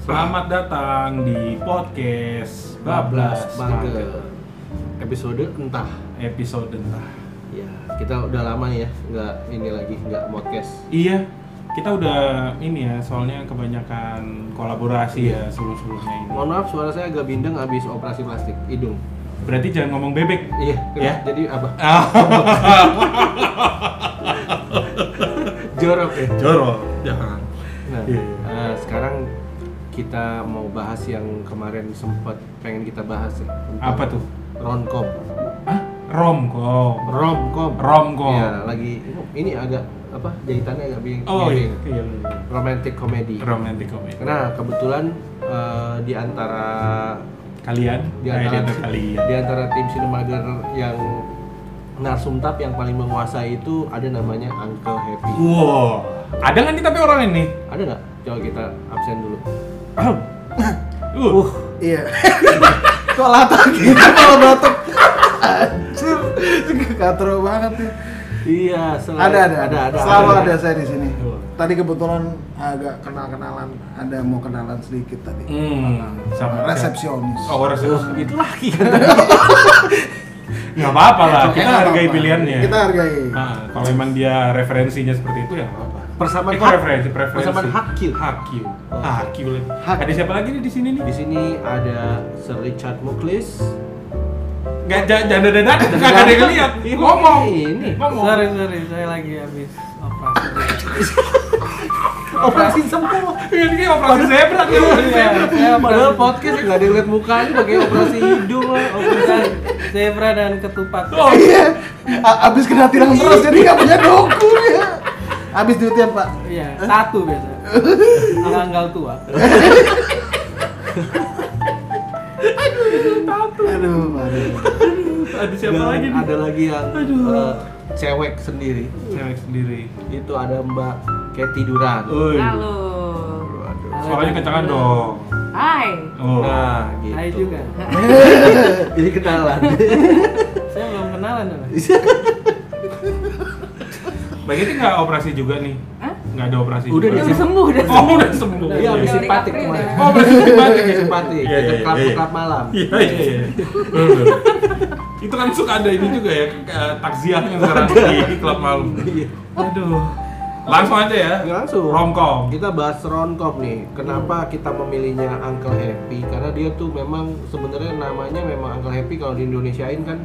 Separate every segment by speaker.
Speaker 1: Selamat datang di podcast Bablas Bagel
Speaker 2: episode entah
Speaker 1: episode entah.
Speaker 2: ya kita udah lama nih ya nggak ini lagi nggak podcast
Speaker 1: Iya, kita udah ini ya, soalnya kebanyakan kolaborasi ya sebelum-sebelumnya ini.
Speaker 2: Iya. mohon maaf suara saya agak bindeng habis operasi plastik hidung
Speaker 1: Berarti jangan ngomong bebek.
Speaker 2: iya
Speaker 1: Ya.
Speaker 2: kenapa? jadi apa jorok ya
Speaker 1: Jorok, jangan.
Speaker 2: nah
Speaker 1: Iya.
Speaker 2: eh, sekarang kita mau bahas yang kemarin sempat pengen kita bahas ya tentang
Speaker 1: Apa tuh?
Speaker 2: romcom
Speaker 1: Hah? Romcom.
Speaker 2: romcom
Speaker 1: Romcom.
Speaker 2: Iya, lagi ini agak apa jahitannya agak bing
Speaker 1: Oh iya,
Speaker 2: miring.
Speaker 1: iya.
Speaker 2: romantic comedy
Speaker 1: Romantic comedy.
Speaker 2: Nah, kebetulan eh, di antara
Speaker 1: Kalian?
Speaker 2: di
Speaker 1: Eh,
Speaker 2: antara
Speaker 1: kalian.
Speaker 2: di antara tim Cinemager yang narsumtap yang paling menguasai itu ada namanya Uncle Happy.
Speaker 1: Wow. Ada nggak nih tapi orang ini?
Speaker 2: Ada nggak? Coba kita absen dulu.
Speaker 1: Uh.
Speaker 2: Iya. Kok latar gitu kalau batuk?
Speaker 3: Anjir, katro banget nih.
Speaker 2: Iya, selalu
Speaker 3: Ada ada
Speaker 2: ada, ada.
Speaker 3: Selalu ada saya di sini.
Speaker 1: Tuh.
Speaker 3: Tadi kebetulan agak kenal-kenalan, ada mau kenalan sedikit tadi.
Speaker 1: Hmm, sama
Speaker 3: Resepsionis.
Speaker 1: Oh, resepsionis.
Speaker 2: Tuh, itu lagi.
Speaker 1: kan? nggak apa-apa lah
Speaker 3: Oke,
Speaker 1: kita
Speaker 3: nggak
Speaker 1: hargai
Speaker 3: apa-apa.
Speaker 1: pilihannya
Speaker 3: Kita hargai.
Speaker 1: Nah, kalau memang dia referensinya seperti itu ya nggak apa-apa
Speaker 2: Persamaan
Speaker 1: Eh, kok
Speaker 2: hak.
Speaker 1: referensi preferensi
Speaker 2: Persamaan hak Q.
Speaker 1: hak Q.
Speaker 2: Oh.
Speaker 1: Hak Q lagi.
Speaker 3: Hak.
Speaker 1: ada siapa lagi nih di sini nih
Speaker 2: Di sini ada Sir Richard Muklis.
Speaker 1: nggak jangan dada dada nggak ada yang lihat
Speaker 2: Ini
Speaker 1: ngomong
Speaker 2: ini.
Speaker 1: ngomong
Speaker 4: Sorry, sorry, saya lagi habis operasi.
Speaker 2: Operasi semua.
Speaker 1: ini operasi zebra nih operasi
Speaker 4: Iya,
Speaker 1: zebra.
Speaker 4: saya
Speaker 2: Padahal podcast nggak ada yang lihat mukanya pakai operasi hidung lah.
Speaker 4: operasi zebra dan ketupat.
Speaker 1: oh
Speaker 3: Iya. A- Abis kena tilang terus jadi nggak punya doku ya. Abis duitnya Pak.
Speaker 4: Iya, satu biasa. Sama anggal tua.
Speaker 3: Aduh, aduh.
Speaker 1: ada siapa lagi nih
Speaker 2: Ada lagi yang eh, cewek sendiri.
Speaker 1: cewek sendiri
Speaker 2: Itu ada Mbak Katy Duran.
Speaker 1: Uy.
Speaker 5: Halo.
Speaker 1: suaranya kencangan dong
Speaker 5: Hai.
Speaker 1: oh
Speaker 2: Nah, gitu.
Speaker 4: Hai juga.
Speaker 2: Jadi kenalan.
Speaker 4: Saya belum kenalan sama.
Speaker 1: Mbak Giti nggak operasi juga nih
Speaker 5: Hah?
Speaker 1: nggak ada operasi
Speaker 2: Udah
Speaker 1: juga.
Speaker 5: Dia udah sembuh udah.
Speaker 1: oh udah sembuh
Speaker 2: Dia
Speaker 1: Iya.
Speaker 2: habis
Speaker 5: Teori
Speaker 2: simpatik
Speaker 5: Capri
Speaker 2: kemarin.
Speaker 5: udah.
Speaker 1: oh berarti simpatik
Speaker 2: Habis
Speaker 1: ya?
Speaker 2: simpatik,
Speaker 1: Iya, iya,
Speaker 2: ke klub
Speaker 1: iya, iya.
Speaker 2: klub malam.
Speaker 1: Iya iya iya. Itu kan suka ada ini juga ya ke- ke- takziah yang sekarang di klub malam. Aduh. Langsung aja ya.
Speaker 2: Nggak Iya, Langsung.
Speaker 1: Romcom.
Speaker 2: Kita bahas romcom nih. Kenapa kita memilihnya Uncle Happy? Karena dia tuh memang sebenarnya namanya memang Uncle Happy kalau di Indonesiain kan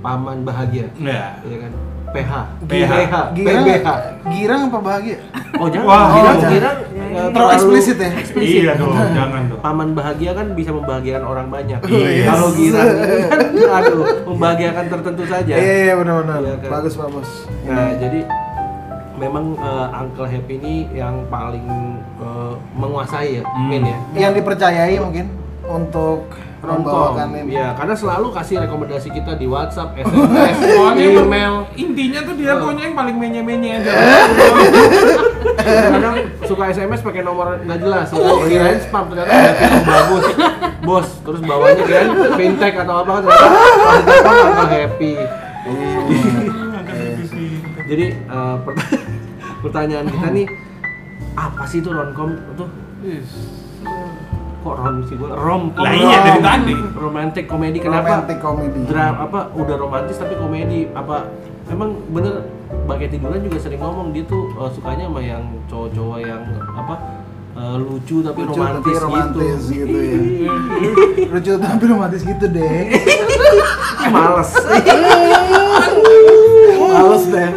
Speaker 2: paman bahagia.
Speaker 1: Ya.
Speaker 2: Iya kan? PH,
Speaker 1: PH.
Speaker 3: Girang,
Speaker 2: PBH.
Speaker 3: girang apa bahagia?
Speaker 2: Oh jangan, Kira-
Speaker 1: Wah,
Speaker 3: oh, jangan.
Speaker 2: kira, eh,
Speaker 3: Terlalu eksplisit ya.
Speaker 1: Iya dong, jangan dong.
Speaker 2: Paman bahagia kan bisa membahagiakan orang banyak.
Speaker 3: Oh,
Speaker 1: Iya.
Speaker 2: Kalau kira kan aduh, membahagiakan tertentu saja.
Speaker 3: Iya, iya benar-benar.
Speaker 2: Iya, kan?
Speaker 3: Bagus, bagus.
Speaker 2: Nah, jadi memang eh, Uncle Happy ini yang paling eh, menguasai ya,
Speaker 1: Hmm.
Speaker 2: Min ya.
Speaker 3: yang dipercayai mungkin untuk
Speaker 2: Romcom.
Speaker 3: membawakan ini.
Speaker 2: Ya, karena selalu kasih rekomendasi kita di WhatsApp, SMS,
Speaker 1: Pokoknya
Speaker 2: email.
Speaker 1: intinya tuh dia pokoknya yang paling menye-menye aja.
Speaker 2: Kadang suka SMS pakai nomor nggak jelas. Oh, kirain spam ternyata ada yang bagus. Bos, terus bawahnya kirain fintech atau apa kan ternyata Uncle Happy.
Speaker 1: Agak tipis sih.
Speaker 2: Jadi eh, pert- pertanyaan kita nih apa sih itu romcom itu
Speaker 4: Is.
Speaker 2: kok rom sih gua romcom
Speaker 1: Lah iya dari tadi.
Speaker 2: romantic komedi kenapa
Speaker 3: Romantic comedy.
Speaker 2: drama apa udah romantis tapi komedi apa emang bener bagai tiduran juga sering ngomong dia tuh eh, sukanya sama yang cowok-cowok yang apa eh, lucu tapi
Speaker 3: Lucu
Speaker 2: romantis,
Speaker 3: tapi romantis
Speaker 2: gitu.
Speaker 3: gitu, ya. Lucu tapi romantis gitu deh.
Speaker 2: Males.
Speaker 3: Males deh.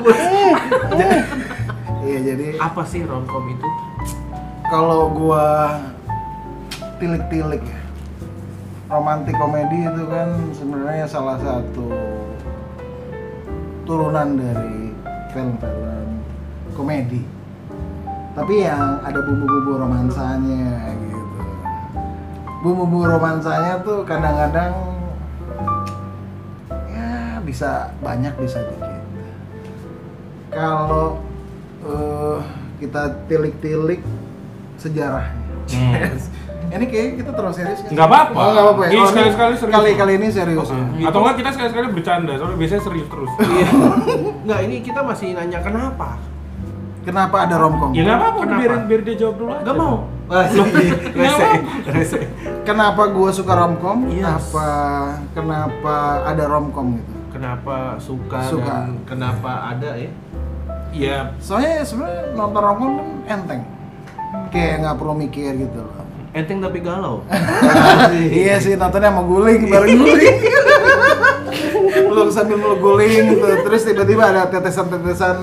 Speaker 3: Ja- Iya jadi
Speaker 2: Apa sih romcom itu?
Speaker 3: kalau gua tilik-tilik ya, romantik komedi itu kan sebenarnya salah satu turunan dari film-film komedi tapi yang ada bumbu-bumbu romansanya gitu bumbu-bumbu romansanya tuh kadang-kadang ya bisa banyak bisa dikit kalau eh, kita tilik-tilik sejarahnya
Speaker 1: Hmm.
Speaker 3: ini kayaknya kita terlalu serius kan?
Speaker 1: Nggak apa-apa.
Speaker 3: Oh, nggak apa-apa ya?
Speaker 1: Ini
Speaker 3: Oh, ini
Speaker 1: sekali-sekali serius.
Speaker 3: Kali, kali ini serius ya?
Speaker 1: Atau enggak kita sekali-sekali bercanda, soalnya biasanya serius terus.
Speaker 2: Iya. Enggak, ini kita masih nanya kenapa?
Speaker 3: Kenapa ada romcom?
Speaker 1: Ya nggak apa-apa,
Speaker 2: Kenapa?
Speaker 1: biarin biar dia jawab dulu aja.
Speaker 2: Enggak mau.
Speaker 3: Wah, iya,
Speaker 1: Rese,
Speaker 3: rese. Kenapa gua suka romcom?
Speaker 2: Yes.
Speaker 3: Apa kenapa ada romcom gitu?
Speaker 2: Kenapa suka,
Speaker 3: Suka.
Speaker 2: dan kenapa ada ya?
Speaker 1: Iya.
Speaker 3: Soalnya sebenarnya nonton romcom kan enteng. Kayak nggak perlu mikir gitu loh.
Speaker 2: Enteng tapi galau.
Speaker 3: iya sih nontonnya mau guling bareng guling. meluk sambil meluk guling gitu. Terus tiba-tiba ada tetesan-tetesan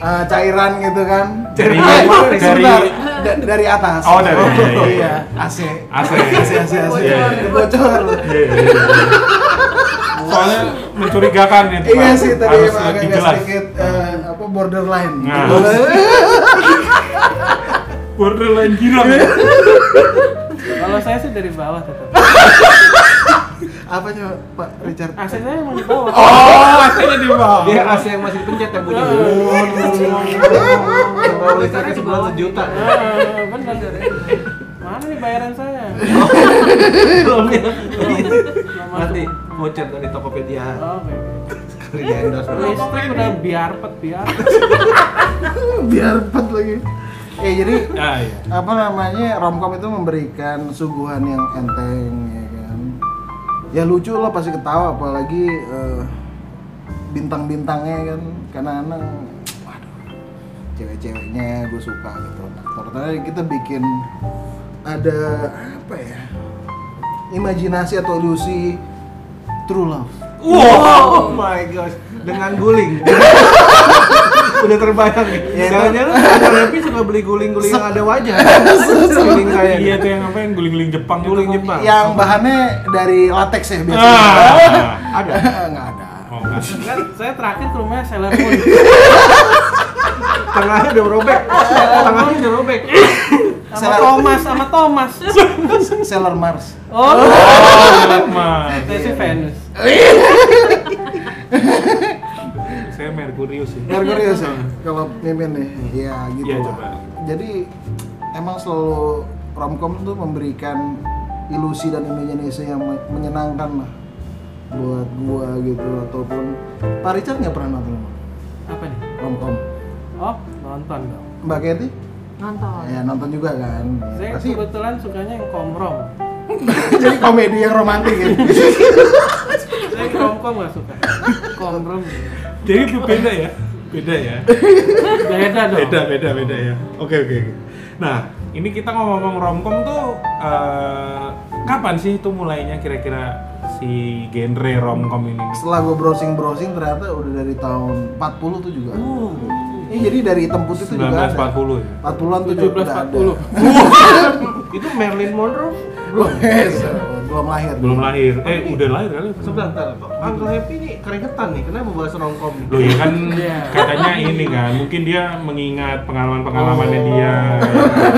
Speaker 3: eh, cairan gitu kan.
Speaker 1: Dari-
Speaker 3: Eh,
Speaker 1: dari-
Speaker 3: sebentar. Da- dari atas.
Speaker 1: Oh, dari- iya, iya.
Speaker 3: iya. AC.
Speaker 1: AC.
Speaker 3: AC AC AC.
Speaker 1: Iya, iya.
Speaker 3: Bocor.
Speaker 1: Iya, iya, iya. Soalnya mencurigakan itu.
Speaker 3: Iya
Speaker 1: Pak.
Speaker 3: sih tadi
Speaker 1: Harus
Speaker 3: emang
Speaker 1: lebih
Speaker 3: agak
Speaker 1: jelas.
Speaker 3: sedikit eh, apa borderline.
Speaker 1: Nah.
Speaker 3: Gitu.
Speaker 1: Borderline girang.
Speaker 3: Iya.
Speaker 4: Kalau saya sih dari bawah tetap.
Speaker 3: apa coba Pak Richard?
Speaker 4: AC saya emang di bawah.
Speaker 1: Oh, akhirnya di bawah.
Speaker 2: Dia AC yang masih dipencet yang
Speaker 4: Iya.
Speaker 2: bunyi. Kalau listriknya sebulan sejuta.
Speaker 4: Ah, benar dari. Mana nih bayaran saya?
Speaker 1: Oh.
Speaker 2: Belum ya.
Speaker 4: Nama-
Speaker 2: Nanti voucher dari Tokopedia.
Speaker 4: Oh, baik.
Speaker 2: Kerja endorse.
Speaker 4: Listrik udah biarpet biar.
Speaker 3: Biar pet lagi. Ya jadi
Speaker 1: Ah, iya.
Speaker 3: apa namanya romcom itu memberikan suguhan yang enteng ya kan ya lucu lo pasti ketawa apalagi eh, bintang-bintangnya kan karena anak waduh cewek-ceweknya gue suka gitu nah, ternyata kita bikin ada apa ya imajinasi atau ilusi true love
Speaker 2: Wow, oh my gosh, dengan guling. Udah terbayang nih.
Speaker 3: Ya, itu-
Speaker 2: Jangan-jangan Pak Repi suka beli guling-guling yang ada wajah. guling gitu. saya.
Speaker 1: Iya tuh yang apa yang guling-guling Jepang gitu, Ah. itu.
Speaker 2: Guling Jepang.
Speaker 3: yang bahannya dari latex ya biasanya
Speaker 1: Ah.
Speaker 2: Ada.
Speaker 3: nggak ada
Speaker 1: Oh, enggak.
Speaker 4: Kan saya terakhir ke rumahnya Sailor Moon.
Speaker 2: Tengahnya udah robek. Tengahnya udah robek.
Speaker 4: Sama Thomas, sama Thomas.
Speaker 3: Sailor Mars
Speaker 4: Oh,
Speaker 1: Oh, Mas.
Speaker 4: saya sih Venus.
Speaker 1: Saya Merkurius ya.
Speaker 3: Merkurius ya kalau mimin nih ya gitu
Speaker 1: Iya,
Speaker 3: lah.
Speaker 1: coba.
Speaker 3: jadi emang selalu romcom tuh memberikan ilusi dan imajinasi yang me- menyenangkan lah buat gua gitu ataupun Pak Richard nggak pernah nonton
Speaker 4: Apa nih?
Speaker 3: romcom
Speaker 4: Oh, nonton dong.
Speaker 3: Mbak Kety
Speaker 5: nonton
Speaker 3: ya nonton juga kan
Speaker 4: Saya
Speaker 3: pasti
Speaker 4: kebetulan sukanya yang komrom.
Speaker 3: jadi komedi yang romantis ya
Speaker 4: Saya komkom nggak suka. Komrom.
Speaker 1: Jadi itu beda ya. Beda ya.
Speaker 3: Iya
Speaker 4: Beda dong.
Speaker 1: Beda, beda, beda ya. Oke, oke, oke. Nah, ini kita ngomong-ngomong romcom tuh eh, kapan sih itu mulainya kira-kira si genre romcom ini?
Speaker 3: setelah gua browsing browsing ternyata udah dari tahun 40 tuh juga ada.
Speaker 4: Uh,
Speaker 3: Ini jadi dari hitam putih tuh juga ada
Speaker 1: 1940 ya.
Speaker 3: 40-an tuh juga udah ada
Speaker 4: 1740.
Speaker 2: Itu Marilyn Monroe.
Speaker 3: belum belum lahir
Speaker 1: Belum lahir. Eh, udah lahir kali. ya?
Speaker 2: Sebentar, ntar. Uncle Happy nih keringetan nih. Kenapa bahas romcom nih?
Speaker 1: Loh ya kan
Speaker 4: Iya.
Speaker 1: katanya ini kan mungkin dia mengingat pengalaman-pengalamannya dia.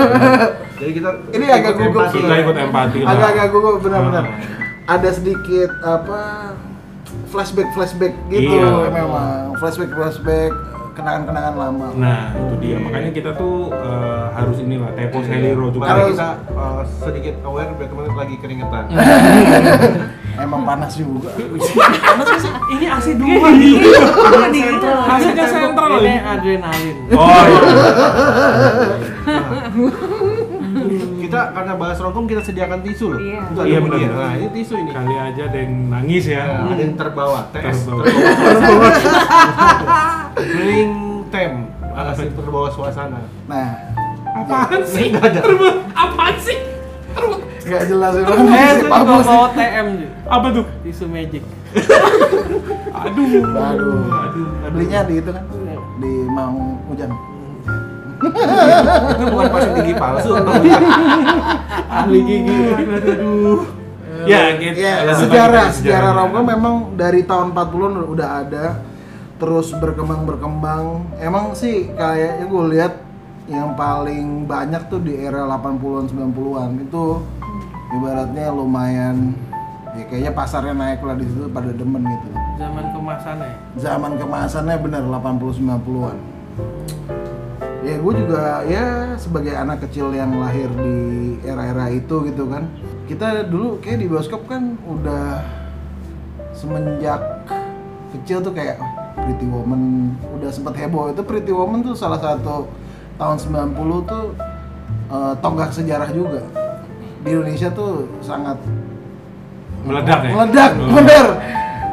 Speaker 2: Jadi kita
Speaker 3: Ini agak
Speaker 2: ikut
Speaker 3: gugup
Speaker 2: empati
Speaker 1: Kita
Speaker 2: lah.
Speaker 1: ikut empati lah.
Speaker 3: agak-agak gugup benar-benar
Speaker 1: Ah.
Speaker 3: ada sedikit apa flashback flashback gitu
Speaker 1: Iya.
Speaker 3: memang flashback flashback kenangan-kenangan lama
Speaker 1: Nah, itu dia. Makanya kita tuh eh, harus inilah
Speaker 3: Iya.
Speaker 1: Tepo Seliro juga.
Speaker 2: Makanya
Speaker 3: Harus.
Speaker 2: kita uh, sedikit aware biar teman lagi keringetan.
Speaker 3: emang panas juga
Speaker 4: ini AC dua nih. Ini sentral.
Speaker 1: AC-nya sentral
Speaker 4: Ini
Speaker 1: ini.
Speaker 4: adrenalin.
Speaker 1: Oh iya.
Speaker 2: kita karena bahas romcom kita sediakan tisu loh.
Speaker 5: Iya.
Speaker 2: Itu ada
Speaker 1: Iya,
Speaker 2: bunyi.
Speaker 1: benar. Kan.
Speaker 2: Nah, ini tisu ini.
Speaker 1: Kali aja ada yang nangis ya.
Speaker 3: Iya,
Speaker 2: Nah, ada yang terbawa, TS.
Speaker 1: Terbawa.
Speaker 2: Bring tem. Ah, masih terbawa suasana.
Speaker 3: Nah, Ya.
Speaker 1: Apaan sih?
Speaker 2: Nggak ada.
Speaker 1: Terbe-
Speaker 4: Apaan sih? Terus
Speaker 3: nggak jelas ya
Speaker 5: Terus saya tuh
Speaker 3: Pak
Speaker 5: juga
Speaker 3: Bos.
Speaker 5: bawa TM Ji.
Speaker 1: Apa tuh?
Speaker 5: tisu magic.
Speaker 1: Aduh.
Speaker 3: Aduh,
Speaker 1: Aduh.
Speaker 3: belinya di itu kan di Mang Ujang.
Speaker 2: Itu bukan pasang gigi palsu atau ahli gigi.
Speaker 1: Aduh. Ya, gitu.
Speaker 3: Ya,
Speaker 1: Lanjut lagi
Speaker 3: sejarah
Speaker 1: dari
Speaker 3: sejarah
Speaker 1: sejarahnya.
Speaker 3: romcom memang dari tahun 40-an udah ada terus berkembang berkembang. Emang sih kayaknya gue lihat yang paling banyak tuh di era 80-an 90-an itu ibaratnya lumayan ya kayaknya pasarnya naik lah di situ pada demen gitu.
Speaker 5: Zaman
Speaker 4: ya.
Speaker 5: kemasannya.
Speaker 3: Zaman kemasannya bener 80 90-an. Ya gue juga ya sebagai anak kecil yang lahir di era-era itu gitu kan. Kita dulu kayak di bioskop kan udah semenjak kecil tuh kayak "Ah, Pretty Woman udah sempet heboh itu Pretty Woman tuh salah satu tahun 90 tuh eh, tonggak sejarah juga di Indonesia tuh sangat
Speaker 1: Meledak ya?
Speaker 3: meledak
Speaker 1: Oh.
Speaker 3: bener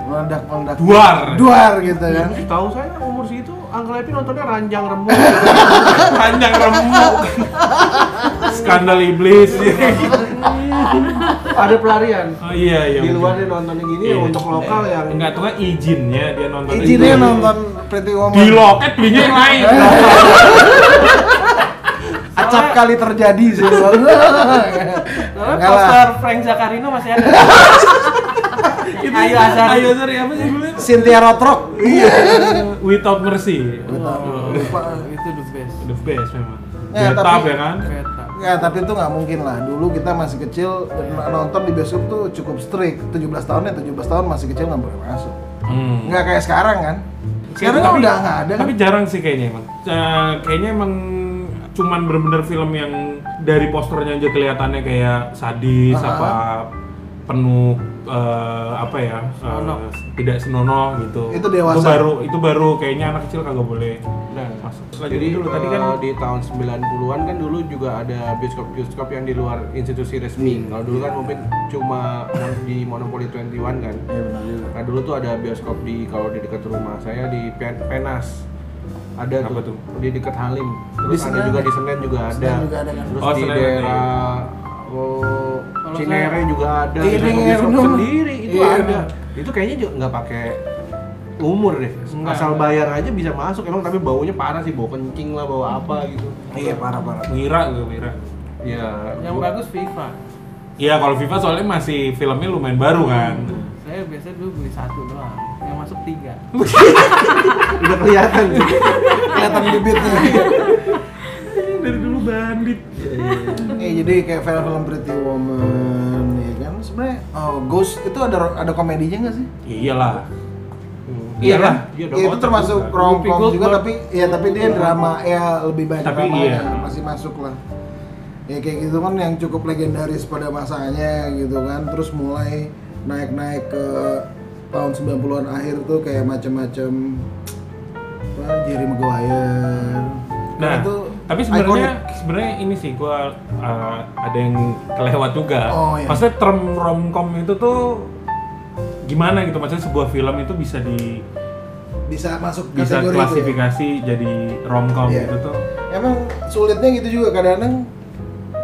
Speaker 3: meledak meledak
Speaker 1: Duar.
Speaker 3: duar gitu kan
Speaker 2: Tahu saya umur segitu Uncle Epi nontonnya ranjang gitu. remu.
Speaker 1: panjang remuk skandal iblis
Speaker 2: Ada pelarian.
Speaker 1: oh iya iya
Speaker 2: Di
Speaker 1: betul.
Speaker 2: luar dia nontonnya gini
Speaker 1: Iya.
Speaker 2: untuk lokal yang
Speaker 1: enggak tuh kan izinnya dia nonton
Speaker 3: izinnya
Speaker 1: itu.
Speaker 3: nonton Eh. Pretty Woman
Speaker 1: di loket belinya yang lain
Speaker 3: acap kali terjadi sih
Speaker 5: Soalnya
Speaker 3: Enggak lah.
Speaker 5: poster Frank Zakarino masih ada.
Speaker 1: Itu
Speaker 5: Ayu
Speaker 1: kan,
Speaker 5: Azhar.
Speaker 1: Ayu Azhar, apa sih dulu
Speaker 3: Cynthia Rothrock iya
Speaker 1: without mercy
Speaker 3: Without-
Speaker 1: Oh,
Speaker 3: lupa.
Speaker 5: itu the best.
Speaker 1: the best memang
Speaker 3: Ya,
Speaker 1: Get
Speaker 3: tapi-
Speaker 1: up, ya kan
Speaker 5: Kereta.
Speaker 3: Ya, tapi itu nggak mungkin lah. Dulu kita masih kecil n- nonton di bioskop tuh cukup strict. 17 tahun ya, 17 tahun masih kecil nggak boleh masuk.
Speaker 1: Hmm.
Speaker 3: Nggak kayak sekarang kan. Sekarang
Speaker 1: Iya, Tapi-
Speaker 3: udah nggak ada kan.
Speaker 1: tapi jarang sih kayaknya emang Eh, kayaknya emang cuman bener-bener film yang dari posternya aja kelihatannya kayak sadis
Speaker 3: Ah.
Speaker 1: apa penuh eh, apa ya eh,
Speaker 5: Senonoh.
Speaker 1: tidak senonoh gitu
Speaker 3: Itu dewasa.
Speaker 1: baru itu baru kayaknya anak kecil kagak boleh
Speaker 2: Nah,
Speaker 1: masuk Lanjut
Speaker 2: jadi
Speaker 1: dulu tadi kan
Speaker 2: eh, di tahun 90-an kan dulu juga ada bioskop-bioskop yang di luar institusi
Speaker 3: Iya.
Speaker 2: resmi. Kalau dulu kan mungkin cuma mon- di Monopoly 21 kan.
Speaker 3: Iya benar juga.
Speaker 2: Nah dulu tuh ada bioskop di kalau di dekat rumah saya di Pen- Penas. Ada
Speaker 1: Apa tuh?
Speaker 2: di dekat Halim.
Speaker 3: Di
Speaker 2: Terus ada
Speaker 3: Senen.
Speaker 2: juga di Senen juga ada.
Speaker 3: Senen juga ada kan?
Speaker 2: Terus
Speaker 1: Oh,
Speaker 2: di
Speaker 1: Senen ada ya.
Speaker 2: daerah oh,
Speaker 5: Kalau
Speaker 2: Cinere
Speaker 5: saya-
Speaker 2: juga ada.
Speaker 3: Cinere
Speaker 2: Bioskop-bioskop
Speaker 3: dong.
Speaker 2: sendiri itu
Speaker 3: Iya.
Speaker 2: ada. Itu kayaknya juga nggak pakai umur deh
Speaker 5: Enggak.
Speaker 2: asal bayar aja bisa masuk emang tapi baunya parah sih bau kencing lah bau apa gitu
Speaker 3: Iya parah-parah.
Speaker 1: ngira gue ngira
Speaker 2: ya
Speaker 5: Yang
Speaker 2: gua-
Speaker 5: bagus FIFA.
Speaker 1: Iya kalau Viva soalnya masih filmnya lumayan baru kan.
Speaker 5: Saya biasanya dulu beli satu doang, yang masuk tiga.
Speaker 2: udah kelihatan Iya. sih
Speaker 3: Kelihatan bibitnya.
Speaker 1: Dari dulu bandit.
Speaker 3: Iya, jadi kayak film-film Pretty Woman ya kan. Sebenarnya oh, Ghost itu ada ada komedinya nggak sih?
Speaker 1: Iyalah. kan?
Speaker 2: iya
Speaker 1: lah.
Speaker 2: iya
Speaker 3: Iya, itu termasuk
Speaker 5: Whoopi
Speaker 3: romcom juga
Speaker 5: Goldberg.
Speaker 3: tapi ya tapi dia drama ya lebih banyak
Speaker 1: Tapi
Speaker 3: drama
Speaker 1: iya.
Speaker 3: masih masuk lah ya kayak gitu kan yang cukup legendaris pada masanya gitu kan terus mulai naik-naik ke tahun 90-an akhir tuh kayak macam-macam apa Jerry Maguire
Speaker 1: Nah,
Speaker 3: itu
Speaker 1: tapi sebenarnya
Speaker 3: iconic.
Speaker 1: sebenarnya ini sih gua uh, ada yang kelewat juga.
Speaker 3: Oh, iya.
Speaker 1: Maksudnya term romcom itu tuh gimana gitu maksudnya sebuah film itu bisa di
Speaker 3: bisa masuk
Speaker 1: bisa
Speaker 3: kategori itu ya.
Speaker 1: klasifikasi jadi romcom
Speaker 3: Iya.
Speaker 1: gitu tuh
Speaker 3: emang sulitnya gitu juga kadang-kadang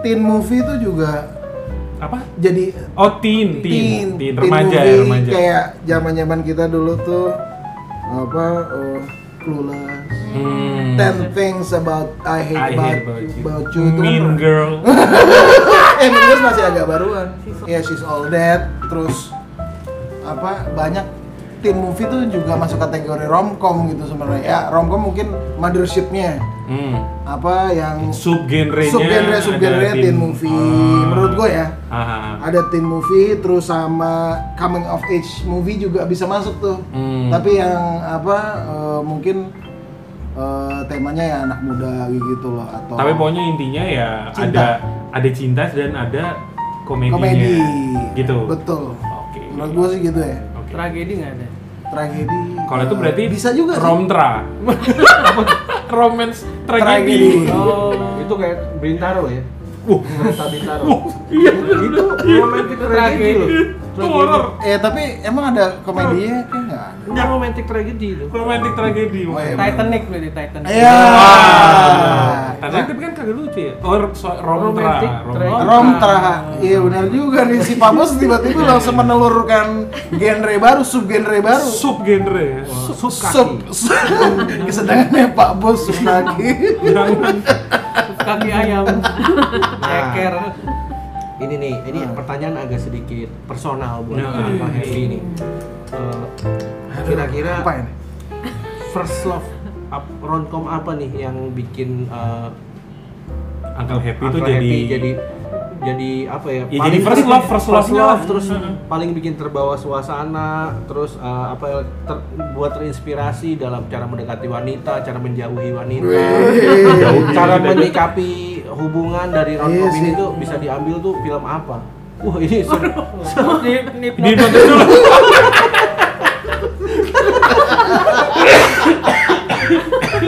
Speaker 3: teen movie itu juga
Speaker 1: apa?
Speaker 3: jadi
Speaker 1: Oh, teen, teen, teen, remaja ya,
Speaker 3: movie,
Speaker 1: remaja.
Speaker 3: kayak zaman zaman kita dulu tuh apa oh, Clueless,
Speaker 1: Hmm.
Speaker 3: Ten Things About I Hate,
Speaker 1: I
Speaker 3: about,
Speaker 1: hate about you.
Speaker 3: About You itu kan
Speaker 1: mean
Speaker 3: pernah-
Speaker 1: girl.
Speaker 3: eh Mean Girls masih agak baruan ya She's All Dead terus apa banyak teen movie tuh juga masuk kategori romcom gitu sebenarnya ya romcom mungkin mothershipnya
Speaker 1: hmm.
Speaker 3: apa yang
Speaker 1: Subgenrenya
Speaker 3: subgenre
Speaker 1: ada
Speaker 3: subgenre teen movie
Speaker 1: Ah.
Speaker 3: menurut gue ya
Speaker 1: Ah.
Speaker 3: ada teen movie terus sama coming of age movie juga bisa masuk tuh
Speaker 1: Hmm.
Speaker 3: tapi yang apa eh, mungkin eh, temanya ya anak muda gitu loh atau
Speaker 1: Tapi pokoknya intinya ya
Speaker 3: Cinta.
Speaker 1: ada ada cinta dan ada komedinya.
Speaker 3: komedi
Speaker 1: Gitu.
Speaker 3: betul
Speaker 1: Oke.
Speaker 3: menurut gue sih gitu ya
Speaker 1: Oke.
Speaker 5: Tragedi nggak ada.
Speaker 3: tragedi
Speaker 1: Kalau itu
Speaker 3: eh,
Speaker 1: berarti
Speaker 3: bisa juga sih.
Speaker 1: romtra. Romance tragedi.
Speaker 3: Tragedi.
Speaker 1: Oh.
Speaker 2: itu kayak Bintaro ya
Speaker 1: Wuh.
Speaker 3: Naruto Bintaro.
Speaker 1: Wuh, iya
Speaker 2: itu romantic tragedy loh
Speaker 1: itu horor.
Speaker 3: Eh tapi emang ada komedinya kayak nggak ada.
Speaker 2: Enggak romantic tragedy itu
Speaker 1: Romantic tragedi.
Speaker 3: Oh, iya.
Speaker 5: Titanic berarti Titanic.
Speaker 3: Iya.
Speaker 1: Wah.
Speaker 3: Nah,
Speaker 1: Tadi tapi kan kagak lucu ya. Oh, so, romantra.
Speaker 2: Romantic
Speaker 1: Romantra.
Speaker 3: Rom Tra, iya benar juga nih si Pamos tiba-tiba langsung menelurkan genre baru, subgenre baru.
Speaker 1: Sub genre ya.
Speaker 2: sub
Speaker 3: sub, sub. Kesenangannya Pak Bos sub kaki.
Speaker 1: Jangan.
Speaker 5: Kaki ayam.
Speaker 3: Nah.
Speaker 5: Ceker.
Speaker 2: ini nih ini
Speaker 3: Hmm.
Speaker 2: pertanyaan agak sedikit personal buat
Speaker 1: Nah.
Speaker 2: Pak Henry ini Eh, kira-kira
Speaker 3: Apa ini?
Speaker 2: first love ap- romcom apa nih yang bikin eh,
Speaker 1: Uncle Happy itu
Speaker 2: Uncle
Speaker 1: jadi
Speaker 2: Happy jadi jadi apa ya?
Speaker 1: Ya, jadi first love, first love, love.
Speaker 2: terus
Speaker 1: Mm-mm.
Speaker 2: paling bikin terbawa suasana, terus eh, apa ya, ter- buat terinspirasi dalam cara mendekati wanita, cara menjauhi wanita,
Speaker 3: Wih.
Speaker 2: cara menyikapi hubungan dari romcom
Speaker 3: Iya
Speaker 2: ini
Speaker 3: sih.
Speaker 2: tuh bisa diambil tuh film apa? Wah ini se-
Speaker 5: Nip nip.
Speaker 1: di nonton dulu.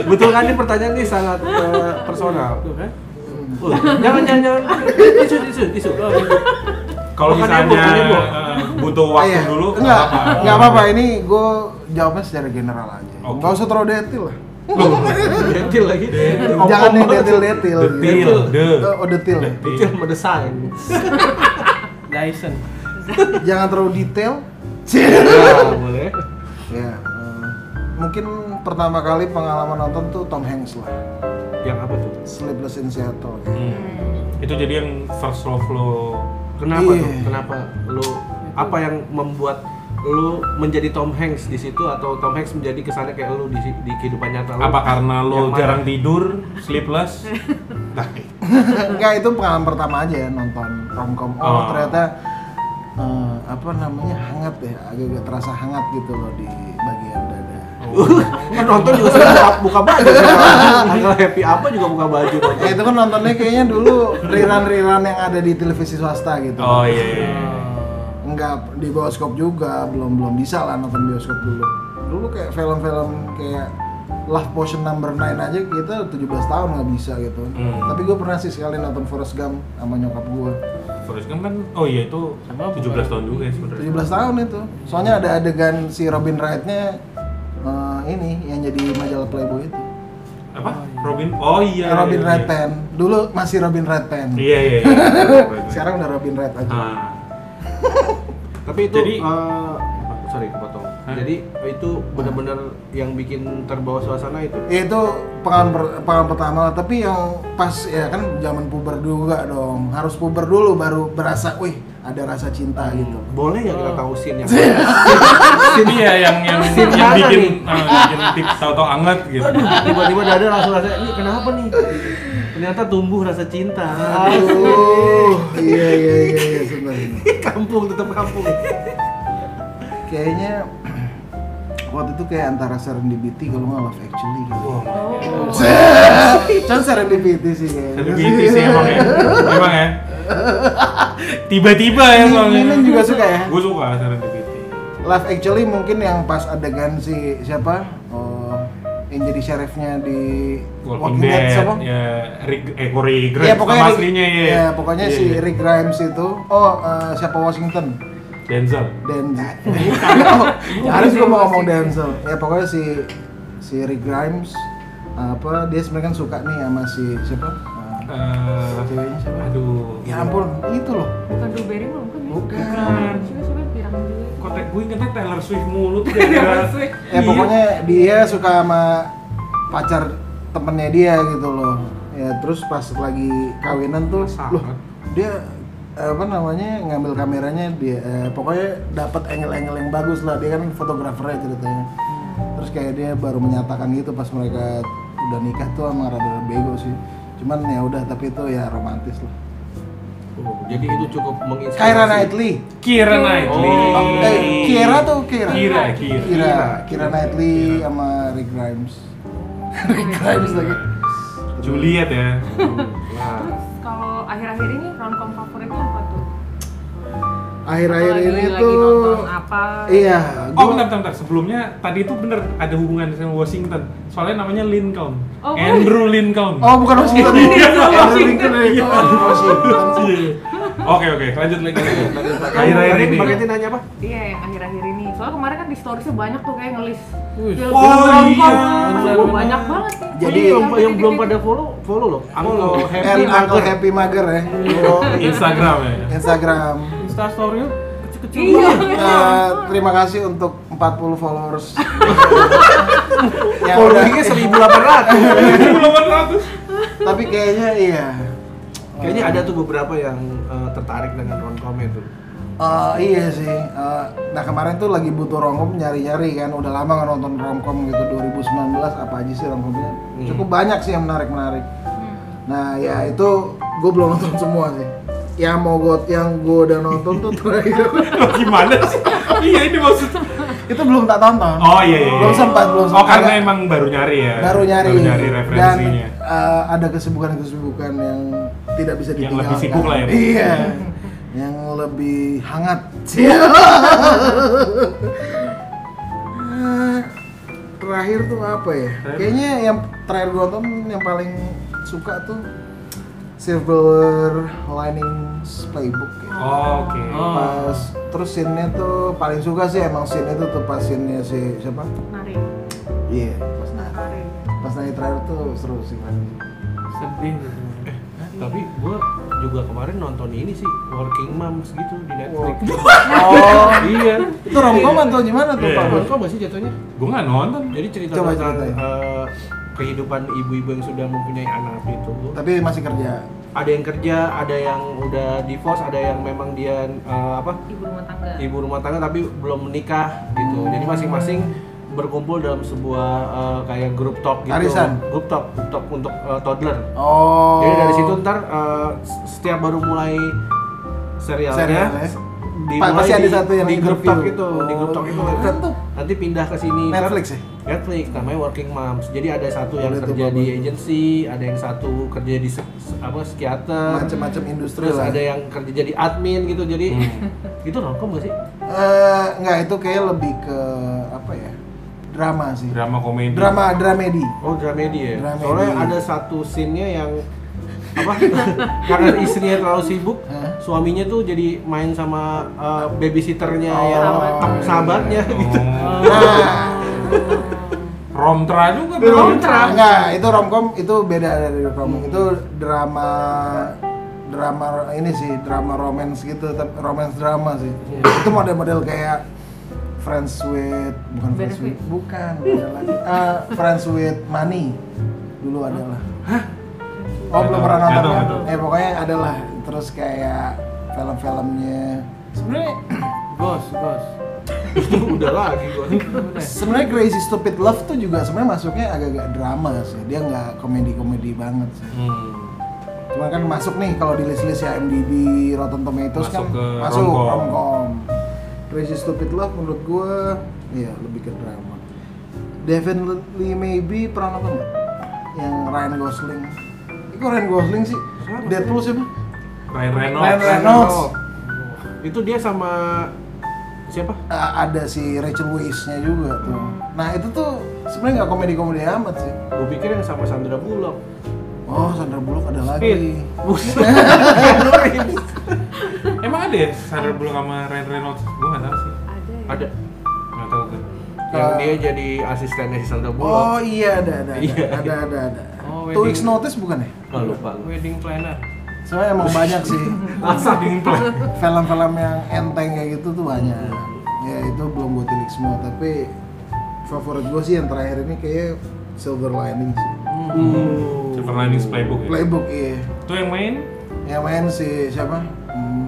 Speaker 2: betul kan ini pertanyaan ini sangat eh, personal.
Speaker 5: Tuh kan.
Speaker 2: Wah, jangan jangan jangan isu isu isu.
Speaker 1: Kalau
Speaker 2: Makan nyambung,
Speaker 1: misalnya
Speaker 2: makan nyambung.
Speaker 1: eh, butuh waktu
Speaker 3: Iya.
Speaker 1: dulu
Speaker 3: Enggak, enggak apa-apa. Ini gue jawabnya secara general aja.
Speaker 1: Oke.
Speaker 3: Enggak usah terlalu detail lah.
Speaker 2: Detil lagi.
Speaker 3: Jangan yang detail-detail.
Speaker 1: Detil,
Speaker 3: gitu.
Speaker 1: de.
Speaker 3: Oh, oh, detail. ya?
Speaker 2: Detil mendesain.
Speaker 5: Dyson.
Speaker 3: Jangan terlalu detail.
Speaker 2: Ya, boleh.
Speaker 3: ya, eh, mungkin pertama kali pengalaman nonton tuh Tom Hanks lah.
Speaker 2: Yang apa tuh?
Speaker 3: Sleepless in Seattle.
Speaker 1: Hmm. Itu jadi yang first love lo
Speaker 2: Kenapa
Speaker 3: Iya.
Speaker 2: tuh? Kenapa lu apa yang membuat lu menjadi Tom Hanks di situ atau Tom Hanks menjadi kesannya kayak lu di, di kehidupan nyata lu?
Speaker 1: apa karena
Speaker 2: Yang
Speaker 1: lo
Speaker 2: mana?
Speaker 1: jarang tidur, sleepless? Nah,
Speaker 3: Enggak, itu pengalaman pertama aja ya nonton romcom. Oh,
Speaker 1: Oh.
Speaker 3: ternyata eh, apa namanya hangat ya, agak-agak terasa hangat gitu loh di bagian dada.
Speaker 2: Kan nonton juga sering buka, buka baju. Agak happy apa juga buka baju.
Speaker 3: Ya, itu kan nontonnya kayaknya dulu riran-riran yang ada di televisi swasta gitu.
Speaker 1: oh iya iya.
Speaker 3: Enggak di bioskop juga, belum belum bisa lah nonton bioskop dulu. Dulu kayak film-film kayak Love Potion Number 9 aja kita 17 tahun nggak bisa gitu.
Speaker 1: Hmm.
Speaker 3: Tapi gue pernah sih sekali nonton Forrest Gump sama nyokap gue.
Speaker 1: Forrest Gump kan oh iya itu 17 tahun juga ya sebenarnya.
Speaker 3: 17 tahun itu. Soalnya ada adegan si Robin Wright-nya eh, ini yang jadi majalah Playboy itu.
Speaker 1: Apa? Robin? Oh iya.
Speaker 3: Eh, Robin
Speaker 1: iya,
Speaker 3: Wright
Speaker 1: iya.
Speaker 3: Pen. Dulu masih Robin Wright Pen.
Speaker 1: Iya iya. iya.
Speaker 3: Sekarang udah Robin Wright aja.
Speaker 1: Ah.
Speaker 2: Tapi itu
Speaker 1: Jadi-
Speaker 2: eh, sorry kepotong.
Speaker 1: Hah?
Speaker 2: Jadi itu benar-benar yang bikin terbawa suasana itu.
Speaker 3: Ya, itu pengalaman, per- pengalaman pertama lah, tapi yang pas ya kan zaman puber juga dong harus puber dulu baru berasa wih ada rasa
Speaker 1: Hmm.
Speaker 3: cinta gitu
Speaker 2: Boleh nggak kita tahu scene yang
Speaker 1: Ini ya yang yang
Speaker 2: Sin
Speaker 1: yang
Speaker 2: mana
Speaker 1: bikin
Speaker 2: nih?
Speaker 1: eh, bikin tip tahu-tahu anget gitu.
Speaker 2: tiba-tiba dada langsung rasa ini kenapa nih ternyata tumbuh rasa cinta
Speaker 3: aduh iya iya iya, iya sebenarnya
Speaker 2: kampung tetap kampung
Speaker 3: kayaknya waktu itu kayak antara serendipity kalau nggak love actually gitu
Speaker 4: Oh.
Speaker 3: Cuman serendipity sih kayaknya
Speaker 1: Serendipity sih emang ya. Emang ya. Tiba-tiba ya
Speaker 3: Min-
Speaker 1: soalnya.
Speaker 3: Minun juga suka ya?
Speaker 1: Gue suka serendipity.
Speaker 3: Love actually mungkin yang pas adegan si siapa? Oh, yang jadi sheriffnya di
Speaker 1: Walking Dead,
Speaker 3: siapa?
Speaker 1: ya Rick, eh Corey Grimes
Speaker 3: Iya, pokoknya
Speaker 1: nama
Speaker 3: Rick-
Speaker 1: aslinya ya.
Speaker 3: iya, pokoknya
Speaker 1: Iya,
Speaker 3: si
Speaker 1: iya.
Speaker 3: Rick Grimes itu. Oh, eh, siapa Washington?
Speaker 1: Denzel.
Speaker 3: Dan harus gue mau ngomong Denzel. Ya pokoknya si si Rick Grimes apa dia sebenarnya kan suka nih sama si siapa? Eh,
Speaker 1: Eh,
Speaker 3: Ceweknya siapa?
Speaker 1: aduh.
Speaker 3: ya ampun, itu loh.
Speaker 4: Bukan blueberry mah bukan ya?
Speaker 3: Bukan.
Speaker 4: Siapa-siapa pirang dulu.
Speaker 1: Kotek gue ingetnya Taylor Swift mulu tuh gara-gara.
Speaker 4: Swift.
Speaker 3: Ya
Speaker 1: Iya.
Speaker 3: pokoknya dia suka sama pacar temennya dia gitu loh. Ya terus pas lagi kawinan tuh,
Speaker 2: Sangat.
Speaker 3: loh dia apa namanya ngambil kameranya dia eh, pokoknya dapat angle-angle yang bagus lah dia kan fotografernya ceritanya terus kayak dia baru menyatakan gitu pas mereka udah nikah tuh emang rada bego sih cuman ya udah tapi itu ya romantis lah
Speaker 2: Oh, jadi itu cukup menginspirasi
Speaker 3: Keira Knightley
Speaker 1: Kira Knightley.
Speaker 2: Oh,
Speaker 3: eh, Kira tuh Kira
Speaker 1: Kira, Kira.
Speaker 3: Kira Kira Knightley sama Rick Grimes Rick Grimes lagi
Speaker 1: Juliet ya.
Speaker 2: nah
Speaker 4: Terus kalau akhir-akhir ini romcom favoritnya apa tuh?
Speaker 3: akhir-akhir
Speaker 4: Lagi-
Speaker 3: ini
Speaker 4: lagi
Speaker 3: tuh
Speaker 4: nonton apa.
Speaker 3: iya
Speaker 1: Oh,
Speaker 3: gua-
Speaker 1: bentar, bentar, bentar. Sebelumnya tadi itu bener ada hubungan dengan Washington. Soalnya namanya Lincoln.
Speaker 4: Oh,
Speaker 1: Andrew Lincoln. Iya,
Speaker 3: oh bukan Washington
Speaker 2: Iya,
Speaker 3: Andrew Lincoln itu Washington
Speaker 1: Iya. Oke, oke. Lanjut lagi. Akhir-akhir
Speaker 2: Akhir-akhir
Speaker 1: ini.
Speaker 2: ini. Mbak Kety nanya apa?
Speaker 4: Iya yang akhir-akhir ini. Soalnya kemarin kan di storiesnya banyak tuh kayak ngelis.
Speaker 5: Wih.
Speaker 4: Film
Speaker 1: Oh,
Speaker 4: romcom.
Speaker 1: iya.
Speaker 4: Aduh,
Speaker 5: Benar-benar.
Speaker 4: banyak banget.
Speaker 3: Jadi,
Speaker 4: Iya,
Speaker 2: yang, yang
Speaker 4: titik-titik.
Speaker 2: belum pada follow, follow loh. Follow,
Speaker 3: Oh, and
Speaker 2: happy,
Speaker 3: Uncle
Speaker 2: mager. Oh.
Speaker 3: Happy Mager ya
Speaker 1: Instagram ya.
Speaker 3: Instagram
Speaker 5: Insta story kecil-kecil
Speaker 4: Iya.
Speaker 5: banget.
Speaker 3: Eh, terima kasih untuk 40 followers yang Ya udah,
Speaker 2: Followingnya 1800.
Speaker 1: 1800.
Speaker 3: tapi kayaknya iya
Speaker 2: Kayaknya ada tuh beberapa yang eh, tertarik dengan romcom itu.
Speaker 3: Eh, iya sih. Eh, nah kemarin tuh lagi butuh romcom nyari-nyari kan. Udah lama nggak nonton romcom gitu 2019 apa aja sih romcomnya? Cukup banyak sih yang menarik-menarik. Nah ya itu gue belum nonton semua sih. Yang mau gue yang gue udah nonton tuh terakhir
Speaker 1: Loh, gimana sih? iya, ini maksud.
Speaker 3: itu belum tak tonton.
Speaker 1: Oh, iya, iya.
Speaker 3: Belum sempat belum
Speaker 1: Oh,
Speaker 3: sempat.
Speaker 1: karena
Speaker 3: Agak-
Speaker 1: emang baru nyari ya.
Speaker 3: baru nyari,
Speaker 1: Baru nyari
Speaker 3: dan
Speaker 1: referensinya.
Speaker 3: eh, ada kesibukan-kesibukan yang tidak bisa
Speaker 1: Yang
Speaker 3: ditinggalkan.
Speaker 1: lebih sibuk lah ya, Bu.
Speaker 3: Iya. yang lebih hangat. terakhir tuh apa ya?
Speaker 1: Terakhir.
Speaker 3: Kayaknya yang terakhir gua nonton yang paling suka tuh Silver Linings Playbook ya.
Speaker 1: Oh, Oke.
Speaker 5: Oh.
Speaker 3: Pas terus scene-nya tuh paling suka sih emang scene itu tuh pas scene-nya si siapa?
Speaker 4: Menarik.
Speaker 3: Iya, pas nari.
Speaker 4: Menarik.
Speaker 3: Pas nari terakhir tuh seru sih kan.
Speaker 5: Sedih. gitu.
Speaker 2: Eh, Tapi gue juga kemarin nonton ini sih Working Moms gitu di Netflix.
Speaker 3: Oh,
Speaker 2: iya.
Speaker 3: itu romcom atau gimana tuh
Speaker 1: Iya.
Speaker 3: Pak Bos?
Speaker 2: Romcom gak sih jatuhnya?
Speaker 1: Gue nggak nonton.
Speaker 2: Jadi cerita
Speaker 3: Coba
Speaker 2: tentang
Speaker 3: ceritain.
Speaker 2: eh, kehidupan ibu-ibu yang sudah mempunyai anak itu.
Speaker 3: Tapi masih kerja.
Speaker 2: Ada yang kerja, ada yang udah divorce, ada yang memang dia eh, apa
Speaker 4: Ibu rumah tangga.
Speaker 3: Iya.
Speaker 2: ibu rumah tangga tapi belum menikah gitu. Jadi masing-masing berkumpul dalam sebuah eh, kayak grup talk gitu.
Speaker 3: Arisan?
Speaker 2: Grup talk, grup talk untuk eh, toddler.
Speaker 3: Oh.
Speaker 2: Jadi dari situ ntar eh, setiap baru mulai serialnya,
Speaker 3: Serial ya?
Speaker 2: dimulai
Speaker 3: Pasti ada
Speaker 2: di-
Speaker 3: satu yang
Speaker 2: di grup
Speaker 3: interview.
Speaker 2: talk itu, di grup talk itu kan.
Speaker 3: Oh, keren tuh.
Speaker 2: nanti pindah ke sini. Ntar-
Speaker 3: Netflix ya?
Speaker 2: Netflix namanya Working Moms. Jadi ada satu yang
Speaker 3: Boleh tuh,
Speaker 2: kerja di
Speaker 3: bagus.
Speaker 2: agency, ada yang satu kerja di se- se- apa psikiater,
Speaker 3: macam-macam industri
Speaker 2: terus
Speaker 3: lah. Hmm.
Speaker 2: ada yang kerja jadi admin gitu. Jadi itu romcom gak sih?
Speaker 3: Eh, enggak itu kayak lebih ke apa ya? Drama sih.
Speaker 1: Drama komedi.
Speaker 3: Drama dramedi.
Speaker 2: Oh dramedi ya.
Speaker 3: Dramedi.
Speaker 2: Soalnya ada satu scene-nya yang apa? karena istrinya terlalu sibuk,
Speaker 3: Hah?
Speaker 2: suaminya tuh jadi main sama uh, babysitternya
Speaker 3: Oh,
Speaker 2: yang
Speaker 4: sahabat.
Speaker 2: tem- sahabatnya gitu.
Speaker 1: Oh.
Speaker 3: Nah,
Speaker 1: Romtra juga
Speaker 4: Romtra.
Speaker 1: berarti.
Speaker 3: Enggak, itu romcom itu beda dari romcom. Itu drama drama ini sih, drama romance gitu, tapi romance drama sih. Itu model-model kayak Friends with bukan Friends with
Speaker 4: Benefit.
Speaker 3: bukan beda lagi. Eh, Friends with Money dulu adalah. Hah?
Speaker 1: Nggak
Speaker 3: Oh, belum
Speaker 1: tahu,
Speaker 3: pernah
Speaker 1: nggak
Speaker 3: nonton
Speaker 1: tahu,
Speaker 3: kan?
Speaker 1: nggak
Speaker 3: Eh, pokoknya adalah terus kayak film-filmnya sebenarnya
Speaker 5: Gos, gos.
Speaker 2: Udah lagi gua.
Speaker 5: Udah.
Speaker 3: sebenarnya Crazy Stupid Love tuh juga sebenarnya masuknya agak-agak drama sih. Dia nggak komedi-komedi banget sih.
Speaker 1: Hmm.
Speaker 3: Cuma kan masuk nih kalau di list-list ya MDB, Rotten Tomatoes
Speaker 1: Masuk
Speaker 3: kan
Speaker 1: ke
Speaker 3: masuk
Speaker 1: romcom.
Speaker 3: romcom. Crazy Stupid Love menurut gue ya lebih ke drama. Definitely Maybe pernah nonton nggak? Yang Ryan Gosling. Itu Ryan Gosling sih. Deadpool siapa?
Speaker 1: Ryan Reynolds.
Speaker 3: Ryan Reynolds.
Speaker 2: Itu dia sama siapa?
Speaker 3: A- ada si Rachel Weisz-nya juga tuh. Nah itu tuh sebenarnya nggak komedi-komedi amat sih.
Speaker 2: Gue pikir yang sama Sandra Bullock.
Speaker 3: Oh Sandra Bullock
Speaker 2: Speed.
Speaker 3: ada lagi.
Speaker 2: Buset.
Speaker 1: Emang ada ya Sandra Bullock sama Ryan Reynolds? Gue nggak tahu sih.
Speaker 4: Ada. ya?
Speaker 2: Ada
Speaker 1: Nggak tahu gue.
Speaker 2: yang
Speaker 3: Eh.
Speaker 2: dia jadi asistennya si Sandra
Speaker 3: Oh
Speaker 2: Bullock.
Speaker 3: iya ada ada ada
Speaker 2: Iya.
Speaker 3: ada ada. ada.
Speaker 5: Oh,
Speaker 3: Two
Speaker 5: wedding.
Speaker 3: Weeks Notice bukan ya?
Speaker 2: Nggak lupa gue.
Speaker 5: Wedding planner.
Speaker 3: Soalnya emang banyak sih.
Speaker 1: Masa diimplan?
Speaker 3: film-film yang enteng kayak gitu tuh banyak ya itu belum gue tilik semua tapi favorit gue sih yang terakhir ini kayak Silver Lining sih
Speaker 2: Hmm. Oh.
Speaker 1: Silver Linings Playbook ya?
Speaker 3: playbook iya
Speaker 1: Itu yang main?
Speaker 3: yang main si siapa hmm,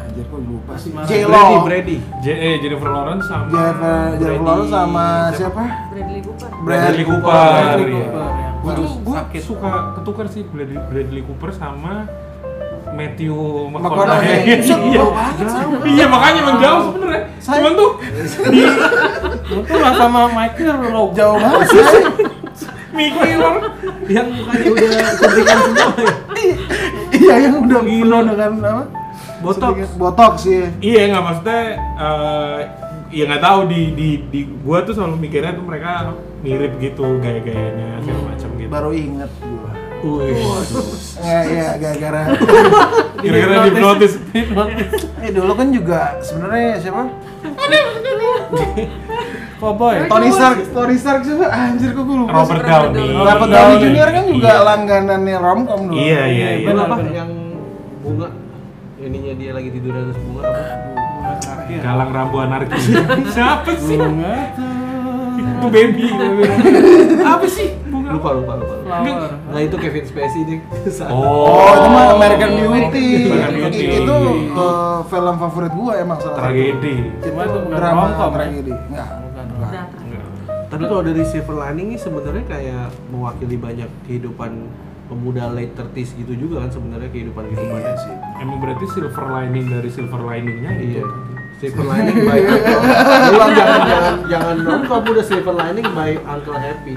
Speaker 3: anjir kok lupa sih
Speaker 5: Mas
Speaker 2: Brady,
Speaker 3: J Lo
Speaker 2: Brady.
Speaker 1: J eh, Jennifer Lawrence sama...
Speaker 3: Jennifer Jennifer
Speaker 2: Brady.
Speaker 3: Lawrence sama siapa
Speaker 4: Bradley Cooper.
Speaker 1: Bradley Cooper.
Speaker 5: Bradley
Speaker 1: iya.
Speaker 5: Cooper, ya.
Speaker 1: Gue tuh gue
Speaker 5: Sakit.
Speaker 1: suka ketukar sih Bradley, Bradley Cooper sama Matthew
Speaker 3: McConaughey.
Speaker 1: McConaughey.
Speaker 3: Buset,
Speaker 1: Iya,
Speaker 3: jauh banget sih.
Speaker 1: Iya, makanya emang jauh sebenernya.
Speaker 3: Saya-
Speaker 1: Cuman tuh
Speaker 5: Lu tuh lah sama Michael Rowe.
Speaker 3: jauh banget sih
Speaker 1: mikir
Speaker 2: Yang mukanya udah
Speaker 3: iya yang udah penuh dengan apa
Speaker 1: botox.
Speaker 3: botok sih
Speaker 1: Iya nggak maksudnya eh ya nggak tahu di di di gua tuh selalu mikirnya tuh mereka mirip gitu gaya-gayanya segala macam gitu.
Speaker 3: baru inget gua
Speaker 1: Wih.
Speaker 3: ya ya gara-gara
Speaker 1: Kira-kira di notice.
Speaker 3: eh dulu kan juga sebenarnya siapa
Speaker 5: Cowboy.
Speaker 3: Tony Stark Tony Stark siapa anjir kok gue lupa
Speaker 1: Robert Downey.
Speaker 3: Robert Downey Junior kan juga langganannya romcom dulu
Speaker 1: Iya iya iya.
Speaker 2: Bener
Speaker 5: Benar,
Speaker 2: apa?
Speaker 5: benar.
Speaker 2: Yang bunga ininya dia lagi tidur terus bunga apa?
Speaker 1: Galang Rambu Anarki. Siapa sih?
Speaker 5: Bunga
Speaker 1: Itu baby. Apa sih? Bunga.
Speaker 2: Lupa lupa lupa. lupa.
Speaker 5: flower.
Speaker 2: Nah itu Kevin Spacey nih.
Speaker 3: Oh, itu mah American Beauty.
Speaker 1: American Beauty.
Speaker 3: Itu eh, film favorit gua emang salah satu.
Speaker 1: Tragedi.
Speaker 3: Itu
Speaker 5: Cuma itu bukan
Speaker 3: drama
Speaker 5: romcom, ya?
Speaker 3: tragedi. Enggak.
Speaker 5: Bukan.
Speaker 3: Enggak.
Speaker 2: Tapi kalau dari Silver Lining ini sebenarnya kayak mewakili banyak kehidupan pemuda late 30s gitu juga kan sebenarnya kehidupan kehidupan
Speaker 3: Iya sih.
Speaker 1: Emang berarti silver lining dari silver liningnya gitu?
Speaker 2: Iya.
Speaker 1: itu.
Speaker 2: Silver lining by Ulang jangan jangan jangan dong kamu udah silver lining by Uncle Happy.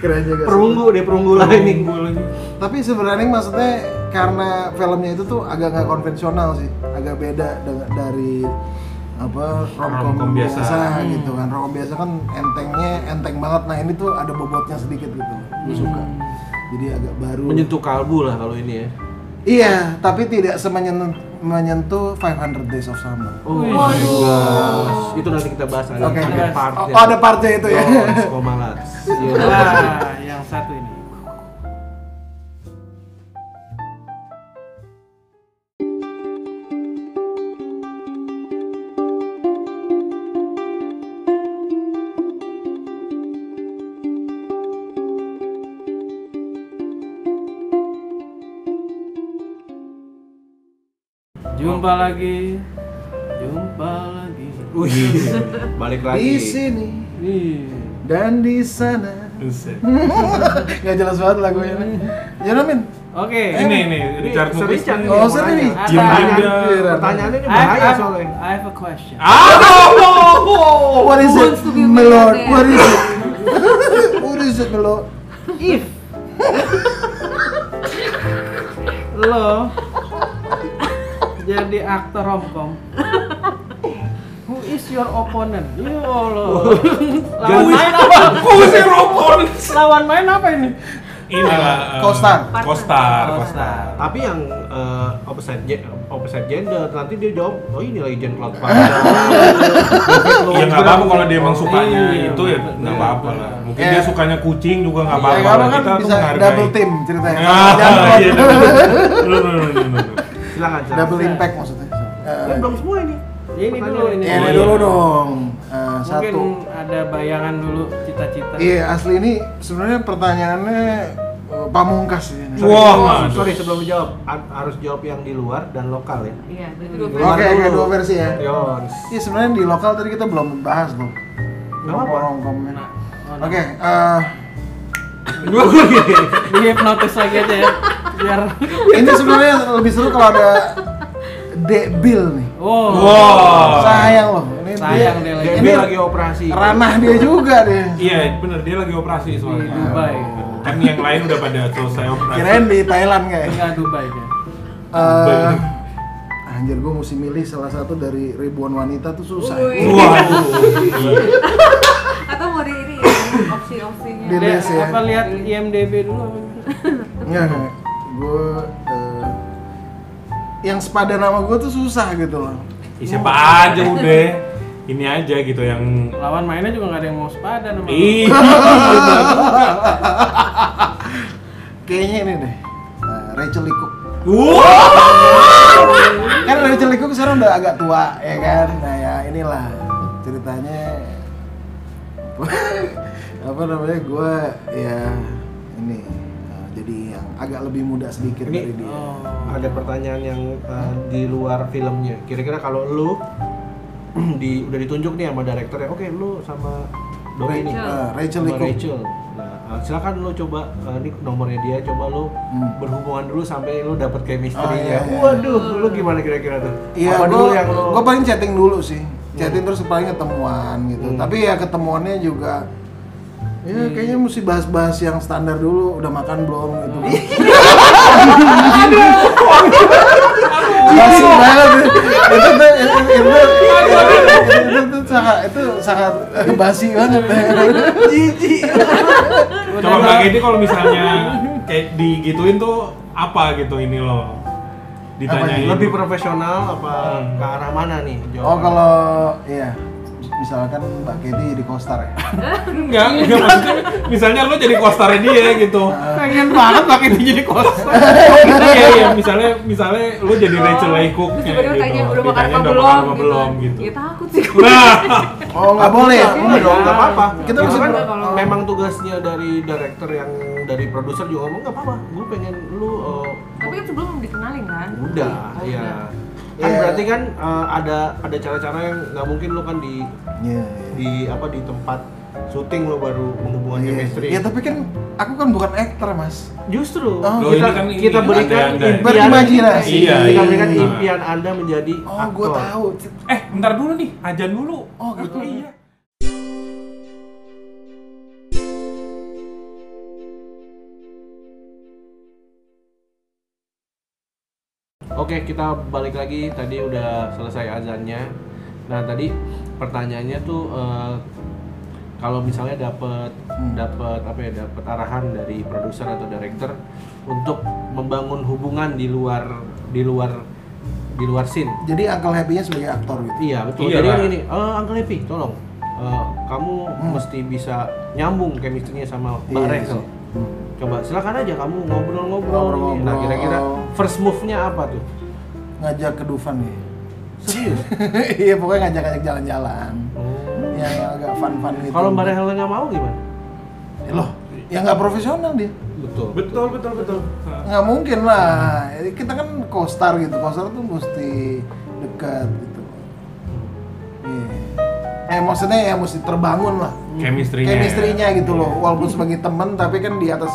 Speaker 3: Keren juga. Iya, sih. Oh.
Speaker 2: perunggu deh perunggu lining.
Speaker 1: Gua lagi.
Speaker 3: Tapi sebenarnya maksudnya karena filmnya itu tuh agak nggak konvensional sih, agak beda dengan dari apa
Speaker 1: Romcom
Speaker 3: romcom
Speaker 1: biasa.
Speaker 3: biasa, gitu kan. Romcom biasa kan entengnya enteng banget. Nah, ini tuh ada bobotnya sedikit gitu. Gue suka. Jadi agak baru.
Speaker 2: Menyentuh kalbu lah kalau ini ya.
Speaker 3: Iya, tapi tidak semenyentuh menyentuh 500 Days of Summer.
Speaker 2: Oh, itu nanti kita bahas ada
Speaker 3: Oke.
Speaker 2: ada partnya.
Speaker 3: Oh, ada partnya itu ya.
Speaker 2: Lawrence Komalas. Iya.
Speaker 5: Nah, yang satu ini. Jumpa lagi. Jumpa lagi.
Speaker 2: Wih, balik
Speaker 3: Di
Speaker 2: lagi.
Speaker 3: sini
Speaker 5: Ih.
Speaker 3: dan di sana.
Speaker 1: Buset.
Speaker 3: Nggak jelas banget lagunya. Ya Ramin.
Speaker 5: Oke.
Speaker 1: Eh, Ini nih Richard
Speaker 2: Sir
Speaker 1: Muklis.
Speaker 2: Richard.
Speaker 3: Oh, seri.
Speaker 5: Ada.
Speaker 1: Diam
Speaker 3: Iya,
Speaker 2: Pertanyaan-
Speaker 1: diam.
Speaker 2: Pertanyaannya ini
Speaker 5: I have,
Speaker 2: bahaya
Speaker 5: I have-
Speaker 2: soalnya.
Speaker 5: I have a question.
Speaker 1: Ah,
Speaker 3: What is
Speaker 4: Who
Speaker 3: it,
Speaker 4: wants to be
Speaker 3: my lord?
Speaker 4: millionaire?
Speaker 3: What is it? What is it, my lord?
Speaker 5: If lo jadi aktor romcom, who is your opponent? Ya Allah. lawan main apa?
Speaker 1: Aku sih robot.
Speaker 5: Lawan main apa ini?
Speaker 1: Ini lah. eh,
Speaker 3: Kostar.
Speaker 1: Kostar. Kostar.
Speaker 5: Kostar.
Speaker 2: Tapi yang eh, opposite ge- opposite gender nanti dia jawab, oh ini lagi Jen Claude Van Damme."
Speaker 1: Ya nggak apa-apa kalau dia emang sukanya
Speaker 5: Iya,
Speaker 1: itu ya
Speaker 2: gitu.
Speaker 5: bener,
Speaker 1: nggak apa-apa
Speaker 2: iya.
Speaker 1: lah. Mungkin
Speaker 3: Eh.
Speaker 1: dia sukanya kucing juga nggak
Speaker 3: Ya,
Speaker 1: apa-apa.
Speaker 3: kamu
Speaker 1: lah.
Speaker 3: kan
Speaker 1: Kita tuh
Speaker 3: bisa
Speaker 1: menghargai.
Speaker 3: double team ceritanya.
Speaker 1: Ah,
Speaker 3: Jangan
Speaker 1: iya,
Speaker 3: lupa.
Speaker 1: no, no, no, no, no, no.
Speaker 2: Silakan. silakan.
Speaker 3: double impact maksudnya.
Speaker 5: Iya,
Speaker 3: Eh,
Speaker 2: Kan belum semua ini.
Speaker 5: Ini dulu ini.
Speaker 3: ya, ini
Speaker 1: Iya.
Speaker 3: dulu dong. Eh,
Speaker 5: Mungkin
Speaker 3: satu.
Speaker 5: ada bayangan dulu cita-cita.
Speaker 3: Iya, asli ini sebenarnya pertanyaannya eh, pamungkas sih. ini.
Speaker 1: Wah,
Speaker 2: Oh,
Speaker 1: aduh.
Speaker 2: sorry sebelum dijawab a- harus jawab yang di luar dan lokal ya.
Speaker 4: Iya, berarti dua
Speaker 3: Oke,
Speaker 4: pilihan.
Speaker 2: Luar dulu.
Speaker 3: oke, dua versi ya.
Speaker 2: Yons.
Speaker 3: Iya sebenarnya di lokal tadi kita belum bahas loh.
Speaker 2: Gak apa-apa.
Speaker 3: Rongkomnya.
Speaker 5: Nah, oh,
Speaker 3: Oke, eh,
Speaker 5: Di hipnotis lagi aja ya. Biar
Speaker 3: ini sebenarnya lebih seru kalau ada Debil nih.
Speaker 5: Oh.
Speaker 1: Wow.
Speaker 3: Sayang loh. Ini
Speaker 5: Sayang dia lagi.
Speaker 2: Debbie
Speaker 3: Ini
Speaker 2: lagi operasi.
Speaker 3: ranah dia juga deh.
Speaker 1: Iya, bener dia lagi operasi
Speaker 5: Di
Speaker 1: soalnya.
Speaker 5: Dubai.
Speaker 1: Kan yang lain udah pada selesai operasi.
Speaker 3: Kirain di Thailand kayak.
Speaker 5: Enggak Dubai ya.
Speaker 3: Eh, anjir gue mesti milih salah satu dari ribuan wanita tuh susah.
Speaker 4: Wih.
Speaker 1: Wow. Iya.
Speaker 4: Atau mau di ini ya, opsi-opsinya.
Speaker 3: Di list ya.
Speaker 5: Apa lihat IMDb dulu apa?
Speaker 3: Enggak, enggak. Gue yang sepadan nama gue tuh susah gitu loh.
Speaker 1: Ih, siapa aja udah. Ini aja gitu yang
Speaker 5: Lawan mainnya juga nggak ada yang mau sepadan sama lu.
Speaker 1: Ih,
Speaker 3: Kayaknya ini deh. eh, Rachel Lee Cook.
Speaker 1: wow.
Speaker 3: Kan Rachel Lee Cook sekarang udah agak tua ya kan. Nah ya inilah ceritanya apa namanya gue ya ini eh, jadi yang agak lebih muda sedikit
Speaker 2: Ini-
Speaker 3: dari dia.
Speaker 5: Oh.
Speaker 2: Ada pertanyaan yang uh, di luar filmnya. Kira-kira kalau lu di udah ditunjuk nih sama direkturnya, oke lu sama Doi ini.
Speaker 4: Rachel.
Speaker 3: Eh, Rachel
Speaker 2: Sama
Speaker 3: Lee Cook.
Speaker 2: Rachel. Nah, uh, silakan lu coba uh, ini nomornya dia, coba lu
Speaker 3: Hmm.
Speaker 2: berhubungan dulu sampai lu dapet chemistry-nya.
Speaker 3: Oh, iya, iya.
Speaker 2: Waduh, lu gimana kira-kira tuh?
Speaker 3: Iya,
Speaker 2: Apa dulu yang lu? Hmm.
Speaker 3: gue paling chatting dulu sih. Chatting terus paling ketemuan gitu. Tapi ya ketemuannya juga ya
Speaker 2: Hmm.
Speaker 3: kayaknya mesti bahas-bahas yang
Speaker 2: Iya.
Speaker 3: standar dulu. Udah makan belum gitu. Masuk banget itu tuh itu itu itu tuh sangat itu sangat eh, basi banget
Speaker 1: Coba Mbak Gedi kalau misalnya kayak digituin tuh apa gitu ini loh ditanyain.
Speaker 2: Lebih profesional apa ke arah mana nih? jawabannya?
Speaker 3: oh kalau iya misalkan Mbak Kedi di Kostar ya
Speaker 1: Enggak, enggak maksudnya misalnya lo jadi kostarnya dia gitu.
Speaker 2: pengen banget pakai tinggi di kosan.
Speaker 1: Iya iya, iya misalnya misalnya lo jadi Rachel Lecook
Speaker 4: Oh. Terus
Speaker 1: kayak
Speaker 4: tiba-tiba tanya udah
Speaker 1: gitu." Ditanya udah
Speaker 4: makan apa belum
Speaker 1: apa
Speaker 4: gitu.
Speaker 1: belum gitu.
Speaker 4: Ya takut sih gue.
Speaker 1: Nah,
Speaker 3: oh nggak boleh ya?
Speaker 2: Enggak dong, enggak apa-apa. Kita
Speaker 3: Kita
Speaker 2: mesti
Speaker 3: masih
Speaker 2: kan
Speaker 4: pro- kalau-
Speaker 2: memang tugasnya dari director yang dari produser juga ngomong enggak apa-apa. Gue pengen lu uh,
Speaker 4: Tapi kan sebelum dikenalin kan.
Speaker 2: udah
Speaker 4: Oh,
Speaker 2: ya.
Speaker 4: udah.
Speaker 2: Kan
Speaker 3: Iya.
Speaker 2: berarti kan uh, ada ada cara-cara yang nggak mungkin lu kan di
Speaker 3: Iya, iya.
Speaker 2: di apa di tempat syuting lu baru menghubungkan
Speaker 3: Iya.
Speaker 2: chemistry.
Speaker 3: ya tapi kan aku kan bukan aktor mas
Speaker 2: Justru
Speaker 3: Oh,
Speaker 1: Loh,
Speaker 2: kita
Speaker 1: ini kan ini
Speaker 2: kita
Speaker 1: ada
Speaker 2: berikan
Speaker 1: Anda.
Speaker 2: impian
Speaker 3: Berimajinasi.
Speaker 1: Iya,
Speaker 2: kita
Speaker 1: iya.
Speaker 2: berikan
Speaker 1: Nah.
Speaker 2: impian Anda menjadi
Speaker 3: oh gue
Speaker 2: aktor.
Speaker 3: tahu
Speaker 1: eh bentar dulu nih, ajan dulu.
Speaker 3: oh gitu
Speaker 1: Iya.
Speaker 2: Oke, kita balik lagi. Tadi udah selesai azannya. Nah, tadi pertanyaannya tuh eh, kalau misalnya dapat
Speaker 3: Hmm.
Speaker 2: dapat apa ya? Dapat arahan dari produser atau director untuk membangun hubungan di luar di luar di luar scene.
Speaker 3: jadi Uncle Happy-nya sebagai aktor gitu
Speaker 2: Iya, betul.
Speaker 1: Iya
Speaker 2: Jadi kan
Speaker 1: lah.
Speaker 2: gini, eh Uncle Happy, tolong Eh, kamu mesti bisa nyambung chemistry-nya sama Mbak
Speaker 3: Hmm. Iya,
Speaker 2: Rachel.
Speaker 3: sih.
Speaker 2: Coba silakan aja kamu ngobrol-ngobrol.
Speaker 3: Ngobrol-ngobrol.
Speaker 2: Nah, kira-kira first move-nya apa tuh?
Speaker 3: ngajak ke Dufan ya
Speaker 2: Serius?
Speaker 3: iya pokoknya ngajak-ngajak jalan-jalan yang agak fun-fun gitu
Speaker 2: Kalau Mbak Rehel nggak mau gimana?
Speaker 3: Eh, loh ya nggak profesional dia
Speaker 2: Betul.
Speaker 1: Betul betul betul. Nah,
Speaker 3: nggak mungkin lah Jadi kita kan co-star gitu co-star tuh mesti dekat gitu Iya. eh maksudnya ya mesti terbangun lah
Speaker 1: Chemistry-nya.
Speaker 3: chemistry-nya gitu loh
Speaker 2: Iya.
Speaker 3: walaupun sebagai teman tapi kan di atas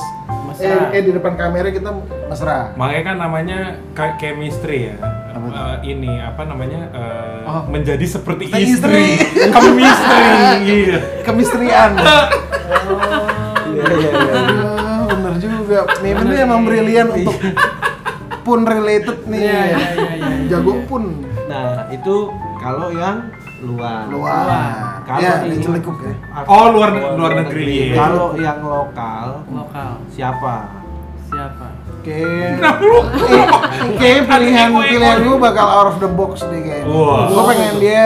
Speaker 5: Mesra.
Speaker 3: eh, eh, di depan kamera kita mesra
Speaker 1: Makanya kan namanya ka- chemistry ya.
Speaker 3: Apa tuh?
Speaker 1: Eh, ini apa namanya? eh,
Speaker 3: Oh.
Speaker 1: menjadi seperti
Speaker 3: Seperti
Speaker 1: istri.
Speaker 3: istri.
Speaker 1: Chemistry. Iya.
Speaker 3: kemistrian
Speaker 2: Iya iya iya.
Speaker 3: Ah, bener juga. Mimin tuh emang brilian untuk pun related nih.
Speaker 5: Iya, iya, iya, iya, iya.
Speaker 3: Jago pun
Speaker 2: Nah itu kalau yang luar.
Speaker 3: luar.
Speaker 2: Kalau
Speaker 3: ya,
Speaker 2: ini-
Speaker 3: di Cilikuk ya.
Speaker 1: Oh, luar- luar negeri. Iya.
Speaker 2: Kalau yang lokal
Speaker 5: lokal
Speaker 2: siapa?
Speaker 5: siapa
Speaker 3: Oke.
Speaker 1: Nah, lu-
Speaker 3: Eh, Oke, pilihan
Speaker 1: Eko, Eko.
Speaker 3: pilihan
Speaker 5: kan.
Speaker 3: lu bakal out of the box nih kayaknya.
Speaker 1: Wah.
Speaker 3: Gua pengen dia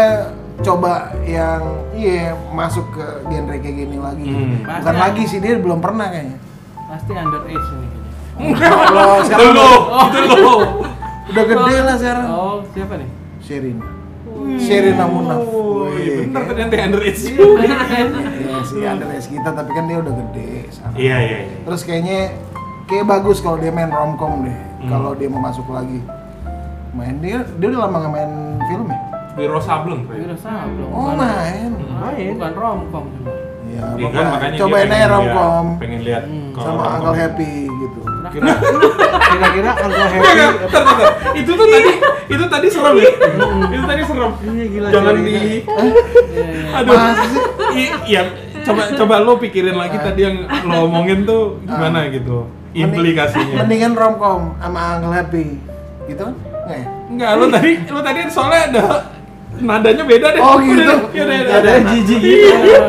Speaker 3: coba yang iya masuk ke genre kayak gini lagi.
Speaker 1: Hmm.
Speaker 3: Bukan
Speaker 5: Pasti.
Speaker 3: lagi sih dia belum pernah kayaknya.
Speaker 5: pasti underage ini kayaknya
Speaker 3: Kalau
Speaker 1: Itu
Speaker 3: sekarang
Speaker 1: lo, itu lo.
Speaker 3: udah gede lah sekarang.
Speaker 5: oh siapa nih
Speaker 3: Sherin. Sherin Amunaf.
Speaker 1: Oh,
Speaker 3: Wih,
Speaker 1: iya, bentar
Speaker 3: kayak-
Speaker 1: tadi anti underage juga.
Speaker 3: Iya sih, underage kita tapi kan dia udah gede. sekarang.
Speaker 1: Iya iya. iya.
Speaker 3: Terus kayaknya kayak bagus kalau dia main romcom deh.
Speaker 1: Hmm.
Speaker 3: Kalau dia mau masuk lagi. Main dia dia udah lama nggak main film ya?
Speaker 1: Wiro Sableng. Pak.
Speaker 5: Wiro Sableng
Speaker 3: Oh,
Speaker 5: bukan-
Speaker 3: main.
Speaker 5: main bukan romcom cuma
Speaker 3: Iya,
Speaker 1: Iya kan
Speaker 3: pokoknya
Speaker 1: makanya
Speaker 3: cobain
Speaker 1: dia
Speaker 3: aja
Speaker 1: pengen
Speaker 3: romcom
Speaker 1: lihat- Pengen lihat
Speaker 5: Hmm.
Speaker 1: kalau
Speaker 3: sama
Speaker 1: romcom.
Speaker 3: Uncle Happy gitu.
Speaker 2: Kira- Kira-kira Uncle Happy.
Speaker 1: Enggak, enggak, bentar, bentar. Itu tuh tadi, itu tadi serem ya. itu tadi serem.
Speaker 2: Iya, gila,
Speaker 1: Jangan
Speaker 2: gila,
Speaker 1: di Aduh.
Speaker 3: Masa sih?
Speaker 1: I- iya, coba coba lo pikirin lagi tadi yang lo omongin tuh gimana gitu.
Speaker 3: Mending-
Speaker 1: Implikasinya.
Speaker 3: Mendingan romcom sama Uncle Happy. Gitu kan? Nggak ya?
Speaker 1: Enggak, lo tadi lo tadi soalnya ada nadanya beda deh.
Speaker 3: Oh, gitu.
Speaker 1: Udah, iya, iya, iya.
Speaker 2: Ada jijik gitu.
Speaker 5: iya.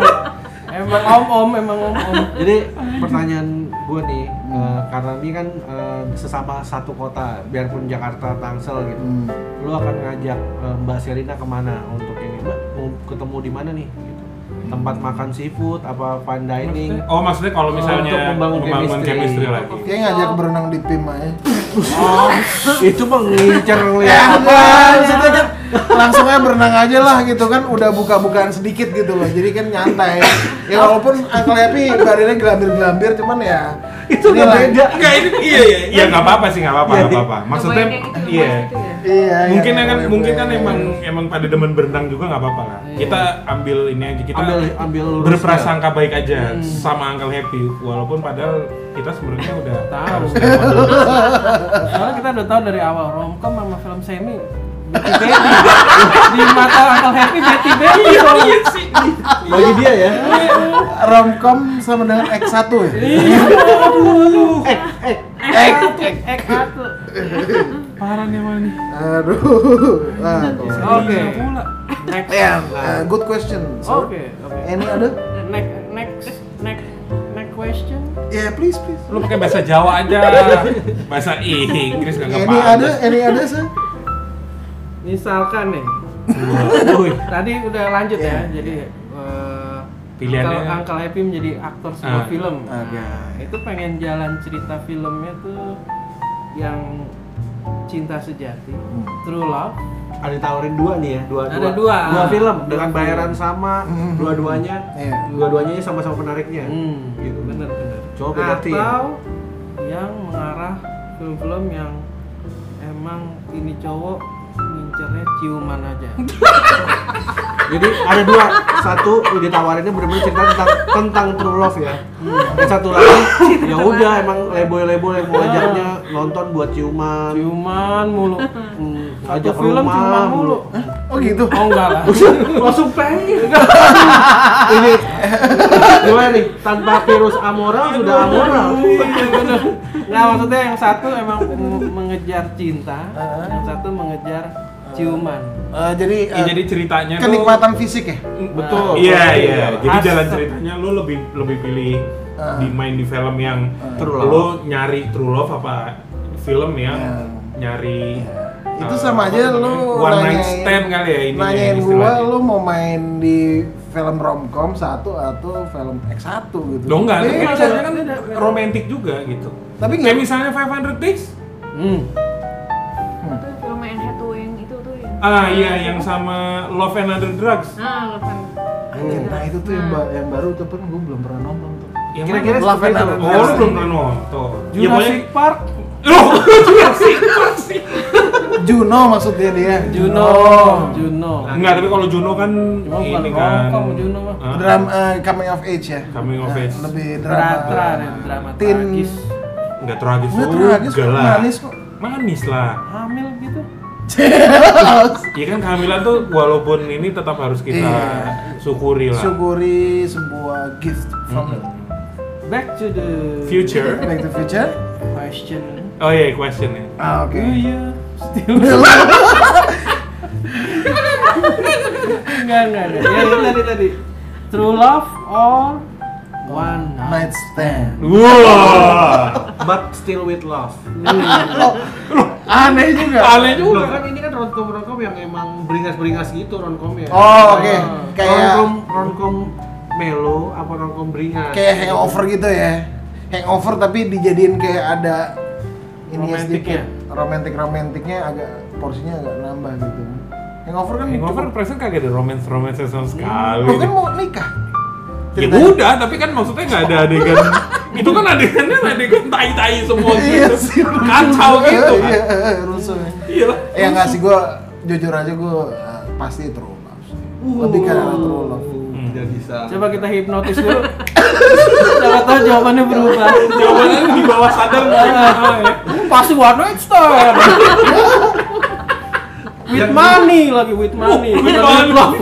Speaker 5: emang om om emang om om
Speaker 2: Jadi pertanyaan gue nih, eh, karena ini kan eh, sesama satu kota, biarpun Jakarta, Tangsel gitu,
Speaker 3: Hmm.
Speaker 2: lu akan ngajak eh, Mbak Serina kemana untuk ini? Mbak mau ketemu di mana nih? Gitu. Tempat makan seafood, apa fine dining?
Speaker 1: Oh, maksudnya kalau misalnya
Speaker 2: Untuk membangun chemistry.
Speaker 1: chemistry lagi.
Speaker 3: Kayak ngajak berenang di ya. PIM aja.
Speaker 2: Oh, itu mah ngincer
Speaker 3: Ya,
Speaker 2: ngeliat apa?
Speaker 5: Iya.
Speaker 3: maksudnya kan langsung aja berenang aja lah gitu kan udah buka-bukaan sedikit gitu loh jadi kan nyantai ya walaupun Uncle Happy badannya gelambir-gelambir cuman ya
Speaker 2: Itu udah
Speaker 3: inilah.
Speaker 2: beda.
Speaker 1: Enggak, ini iya iya, iya enggak apa-apa sih, enggak apa-apa,
Speaker 2: Iya,
Speaker 1: enggak
Speaker 2: iya.
Speaker 1: apa-apa. Maksudnya
Speaker 4: Cobain yang itu,
Speaker 1: iya.
Speaker 4: yang itu ya.
Speaker 3: iya iya,
Speaker 1: Mungkin
Speaker 3: iya,
Speaker 1: kan
Speaker 3: iya,
Speaker 1: mungkin
Speaker 3: iya,
Speaker 1: kan
Speaker 3: iya.
Speaker 1: emang emang pada demen berenang juga nggak apa-apa lah.
Speaker 5: Iya.
Speaker 1: Kita ambil ini aja kita
Speaker 2: Ambil ambil lurusnya.
Speaker 1: berprasangka baik aja sama Uncle Happy walaupun padahal kita sebenarnya udah
Speaker 5: Tahu.
Speaker 1: harusnya mau-
Speaker 5: soalnya kita udah tahu dari awal romcom sama film semi Betty Betty di mata Uncle Happy Betty Betty soalnya
Speaker 2: Bagi dia ya.
Speaker 3: romcom sama dengan X1 ya
Speaker 1: Iya.
Speaker 2: Eh, eh,
Speaker 5: Ek satu
Speaker 2: parah
Speaker 1: apaan yang mana nih?
Speaker 3: Aduh. Ah, tuh.
Speaker 5: Oke.
Speaker 1: Pula.
Speaker 5: Next.
Speaker 3: Yeah, uh, good question. sir.
Speaker 5: Oke, oke.
Speaker 3: Any other?
Speaker 5: Next next next next question.
Speaker 3: Yeah, Ya, please, please.
Speaker 1: Lu pakai bahasa Jawa aja. Bahasa Inggris kagak
Speaker 3: Any other? Any other, sir?
Speaker 5: Misalkan nih,
Speaker 1: Woi.
Speaker 5: tadi udah lanjut
Speaker 3: Iya,
Speaker 5: ya, jadi eh,
Speaker 1: Pilihannya- ya?
Speaker 5: Uncle, Uncle Happy menjadi aktor sebuah
Speaker 1: Ah,
Speaker 5: film.
Speaker 3: oke.
Speaker 5: Nah, itu pengen jalan cerita filmnya tuh yang cinta sejati, true love.
Speaker 2: ada tawarin dua nih ya dua
Speaker 5: Ada dua.
Speaker 2: dua film
Speaker 5: Dua
Speaker 2: dengan
Speaker 5: film.
Speaker 2: bayaran sama
Speaker 3: Hmm.
Speaker 2: dua-duanya
Speaker 3: Iya.
Speaker 2: dua-duanya sama-sama penariknya
Speaker 5: Hmm,
Speaker 2: gitu.
Speaker 5: bener bener.
Speaker 2: Coba beda tim.
Speaker 5: Atau yang mengarah film-film yang emang ini cowok ngincernya ciuman aja.
Speaker 2: jadi ada dua satu ditawarinnya bener-bener cerita tentang tentang true love ya yang satu lagi ya udah emang leboy-leboy yang mau ajaknya nonton buat ciuman
Speaker 5: ciuman mulu.
Speaker 2: hmm,
Speaker 5: Satu
Speaker 2: ajak
Speaker 5: film
Speaker 2: rumah,
Speaker 5: ciuman mulu.
Speaker 3: Oh gitu.
Speaker 5: Oh enggak lah.
Speaker 2: langsung pengen ini gimana nih tanpa virus amoral sudah amoral
Speaker 5: Iya bener. Nah maksudnya yang satu emang m- mengejar cinta,
Speaker 3: Ah.
Speaker 5: yang satu mengejar ciuman.
Speaker 3: Eh, jadi
Speaker 1: Ya,
Speaker 3: eh,
Speaker 1: jadi ceritanya tuh
Speaker 3: kenikmatan fisik ya?
Speaker 2: betul
Speaker 1: Iya iya. Jadi
Speaker 5: As-
Speaker 1: jalan ceritanya lu lebih lebih pilih
Speaker 3: Ah.
Speaker 1: dimain di film yang
Speaker 3: Ah.
Speaker 2: True
Speaker 1: lu
Speaker 2: love.
Speaker 1: nyari true love apa film yang
Speaker 3: Iya.
Speaker 1: nyari
Speaker 3: Itu
Speaker 1: eh,
Speaker 3: sama
Speaker 1: apa
Speaker 3: aja
Speaker 1: namanya?
Speaker 3: lu
Speaker 1: one night
Speaker 3: nanyain-
Speaker 1: stand kali ya ini
Speaker 3: Nanyain gua lu mau main di film romcom satu atau film X1 gitu.
Speaker 1: Lo enggak,
Speaker 3: Tapi
Speaker 1: tapi
Speaker 5: Beda,
Speaker 1: maksudnya kan
Speaker 5: beda, beda.
Speaker 1: romantis juga gitu.
Speaker 3: Tapi
Speaker 1: Kayak
Speaker 3: nggak-
Speaker 1: misalnya 500 Days?
Speaker 5: Hmm.
Speaker 4: Itu film Anne Hathaway yang itu tuh ya.
Speaker 1: Ah iya yang sama Love and Other Drugs.
Speaker 4: Nah, lepas.
Speaker 3: Anjir, nah itu tuh yang, ba- yang baru tuh pun gua belum pernah nonton tuh.
Speaker 1: Yang
Speaker 2: Kira-kira
Speaker 1: mana?
Speaker 3: Love and
Speaker 1: Oh,
Speaker 3: Other
Speaker 1: lu
Speaker 3: Drugs.
Speaker 1: belum pernah nonton. Ya
Speaker 5: Jurassic
Speaker 1: pokoknya-
Speaker 5: Park.
Speaker 1: Loh,
Speaker 3: Juno maksudnya dia.
Speaker 5: Juno. Juno.
Speaker 1: Enggak, tapi kalau Juno kan
Speaker 5: Cuma bukan
Speaker 1: ini kan.
Speaker 5: romcom, Juno mah.
Speaker 1: Hah?
Speaker 3: Drama eh, coming of age ya.
Speaker 1: Coming of
Speaker 3: Nah,
Speaker 1: age.
Speaker 3: Lebih drama.
Speaker 5: Drama, drama
Speaker 3: Teen.
Speaker 5: tragis.
Speaker 1: Enggak tragis
Speaker 3: Nggak
Speaker 1: juga
Speaker 3: tragis kok,
Speaker 1: lah.
Speaker 3: manis kok.
Speaker 1: Manis lah.
Speaker 5: Hamil gitu.
Speaker 1: Iya kan kehamilan tuh walaupun ini tetap harus kita
Speaker 3: Iya.
Speaker 1: syukuri lah. Hmm.
Speaker 3: Syukuri sebuah gift from
Speaker 5: Back to the
Speaker 1: Future.
Speaker 3: Back to Future.
Speaker 5: question.
Speaker 1: Oh iya, question ya.
Speaker 3: Ah, oke.
Speaker 5: Do you still enggak enggak enggak. Ya itu tadi tadi. True love or one night.
Speaker 3: Night stand.
Speaker 1: Wow.
Speaker 2: but still with love Hmm.
Speaker 3: Aneh juga.
Speaker 1: Aneh
Speaker 2: Loh, Nah,
Speaker 1: juga.
Speaker 2: kan ini kan romcom romcom yang emang beringas-beringas gitu romcom ya.
Speaker 3: Oh, oke. Kayak-
Speaker 2: romcom romcom melo apa romcom beringas.
Speaker 3: kayak hangover gitu ya hangover tapi dijadiin kayak ada ini ya
Speaker 5: Romantiknya.
Speaker 3: sedikit romantik romantiknya agak porsinya agak nambah gitu hangover kan
Speaker 1: Hangover
Speaker 3: cukup-
Speaker 1: present kagak ada romance romance sama sekali.
Speaker 3: Lo kan mau nikah
Speaker 1: Ya
Speaker 3: Ceritanya.
Speaker 1: udah, tapi kan maksudnya nggak ada adegan itu kan adegannya adegan tai-tai semua
Speaker 3: Iya
Speaker 1: gitu.
Speaker 3: sih, rusuh
Speaker 1: Kacau
Speaker 3: juga.
Speaker 1: gitu kan.
Speaker 3: Iya, rusuh
Speaker 1: Iya.
Speaker 3: ya nggak sih gue jujur aja gue uh, pasti true love sih. lebih ke arah true love
Speaker 2: Tidak Hmm, bisa.
Speaker 5: Coba kita hipnotis dulu. Siapa tahu jawabannya berubah.
Speaker 1: Jawabannya di bawah sadar nggak
Speaker 3: Iya.
Speaker 1: ada, ya.
Speaker 5: Pasti one night stand. With money lagi with money.
Speaker 1: With
Speaker 5: Bukan
Speaker 1: money.
Speaker 5: love.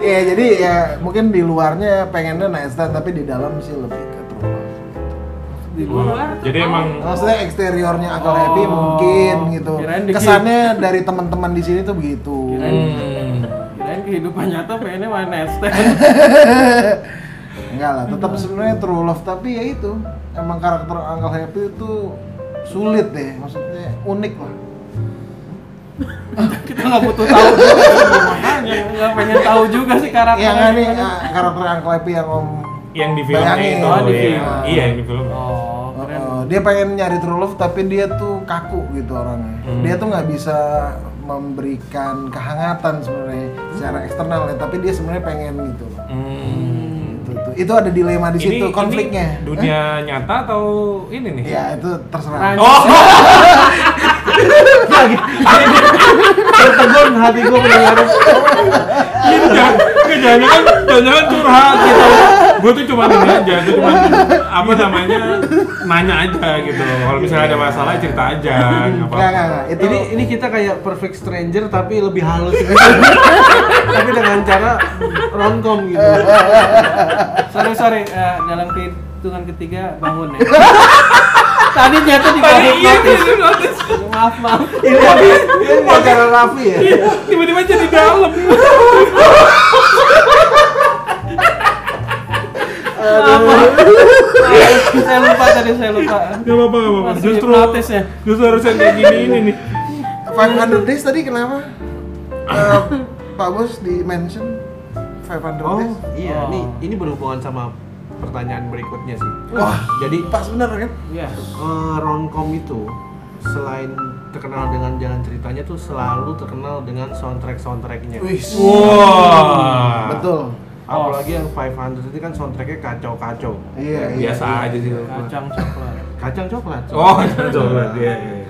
Speaker 3: ya jadi ya mungkin di luarnya pengennya nice stand tapi di dalam sih lebih ke true love
Speaker 5: Di luar.
Speaker 1: Jadi emang
Speaker 3: Maksudnya eksteriornya agak
Speaker 5: Oh,
Speaker 3: happy mungkin gitu.
Speaker 5: kirain dikit.
Speaker 3: Kesannya dari teman-teman di sini tuh begitu.
Speaker 5: Kirain.
Speaker 1: hmm,
Speaker 5: Kirain kehidupan nyata pengennya one night stand.
Speaker 3: Enggak lah, tetap sebenarnya true love tapi ya itu emang karakter Uncle Happy itu sulit deh, maksudnya unik lah.
Speaker 5: kita nggak butuh tahu makanya nggak pengen tahu juga sih karakter
Speaker 3: Yang aneh ah, karakter Uncle Happy yang om
Speaker 1: yang di filmnya
Speaker 3: Bayangin.
Speaker 1: itu
Speaker 5: Oh, di
Speaker 1: ya.
Speaker 5: film.
Speaker 1: Iya, yang di film.
Speaker 5: oh keren
Speaker 3: eh, dia pengen nyari true love tapi dia tuh kaku gitu orangnya.
Speaker 1: Hmm.
Speaker 3: Dia tuh nggak bisa memberikan kehangatan sebenarnya secara eksternal ya, tapi dia sebenarnya pengen gitu. loh.
Speaker 1: Hmm.
Speaker 3: Itu, itu, itu ada dilema di
Speaker 1: ini
Speaker 3: situ konfliknya.
Speaker 1: dunia nyata atau ini nih?
Speaker 3: Ya itu terserah.
Speaker 5: Rancu.
Speaker 1: Oh,
Speaker 2: Tertegun hati gue mendengar.
Speaker 1: ini jangan jangan jangan curhat gitu. Gue tuh cuma ini aja, gue cuma apa namanya nanya aja gitu. Kalau misalnya ada masalah cerita aja, nggak
Speaker 3: Enggak,
Speaker 1: apa-apa.
Speaker 3: enggak, enggak. Itu
Speaker 2: Ini ini kita kayak perfect stranger tapi lebih halus. gitu. tapi dengan cara romcom gitu.
Speaker 5: sorry sorry eh, dalam kehitungan ketiga bangun ya Tadi jatuh di
Speaker 4: Tadi
Speaker 5: kaki
Speaker 4: iya
Speaker 5: notis.
Speaker 4: itu notis.
Speaker 5: Maaf maaf.
Speaker 3: Ini acara Raffi ya?
Speaker 4: Tiba-tiba jadi dalam.
Speaker 5: Saya lupa tadi saya lupa.
Speaker 1: Gak apa-apa, gak apa-apa.
Speaker 5: Masih
Speaker 1: Justru
Speaker 5: hipnotis ya.
Speaker 1: Justru harusnya kayak gini ini nih.
Speaker 3: 500 days tadi kenapa? Eh, Pak Bos di mention 500
Speaker 2: Oh
Speaker 3: days
Speaker 2: iya,
Speaker 5: Oh.
Speaker 2: ini ini berhubungan sama pertanyaan berikutnya sih.
Speaker 3: Wah.
Speaker 2: Jadi
Speaker 3: Pas bener kan?
Speaker 5: Iya.
Speaker 2: eh, romcom itu selain terkenal dengan jalan ceritanya tuh selalu terkenal dengan soundtrack soundtracknya.
Speaker 3: Wih,
Speaker 1: Wah.
Speaker 3: Ah. Betul
Speaker 2: Apalagi yang 500 itu kan soundtracknya kacau-kacau.
Speaker 3: Iya, iya
Speaker 1: Biasa aja sih.
Speaker 5: Kacang coklat.
Speaker 2: Kacang coklat.
Speaker 1: Oh, coba iya. dia.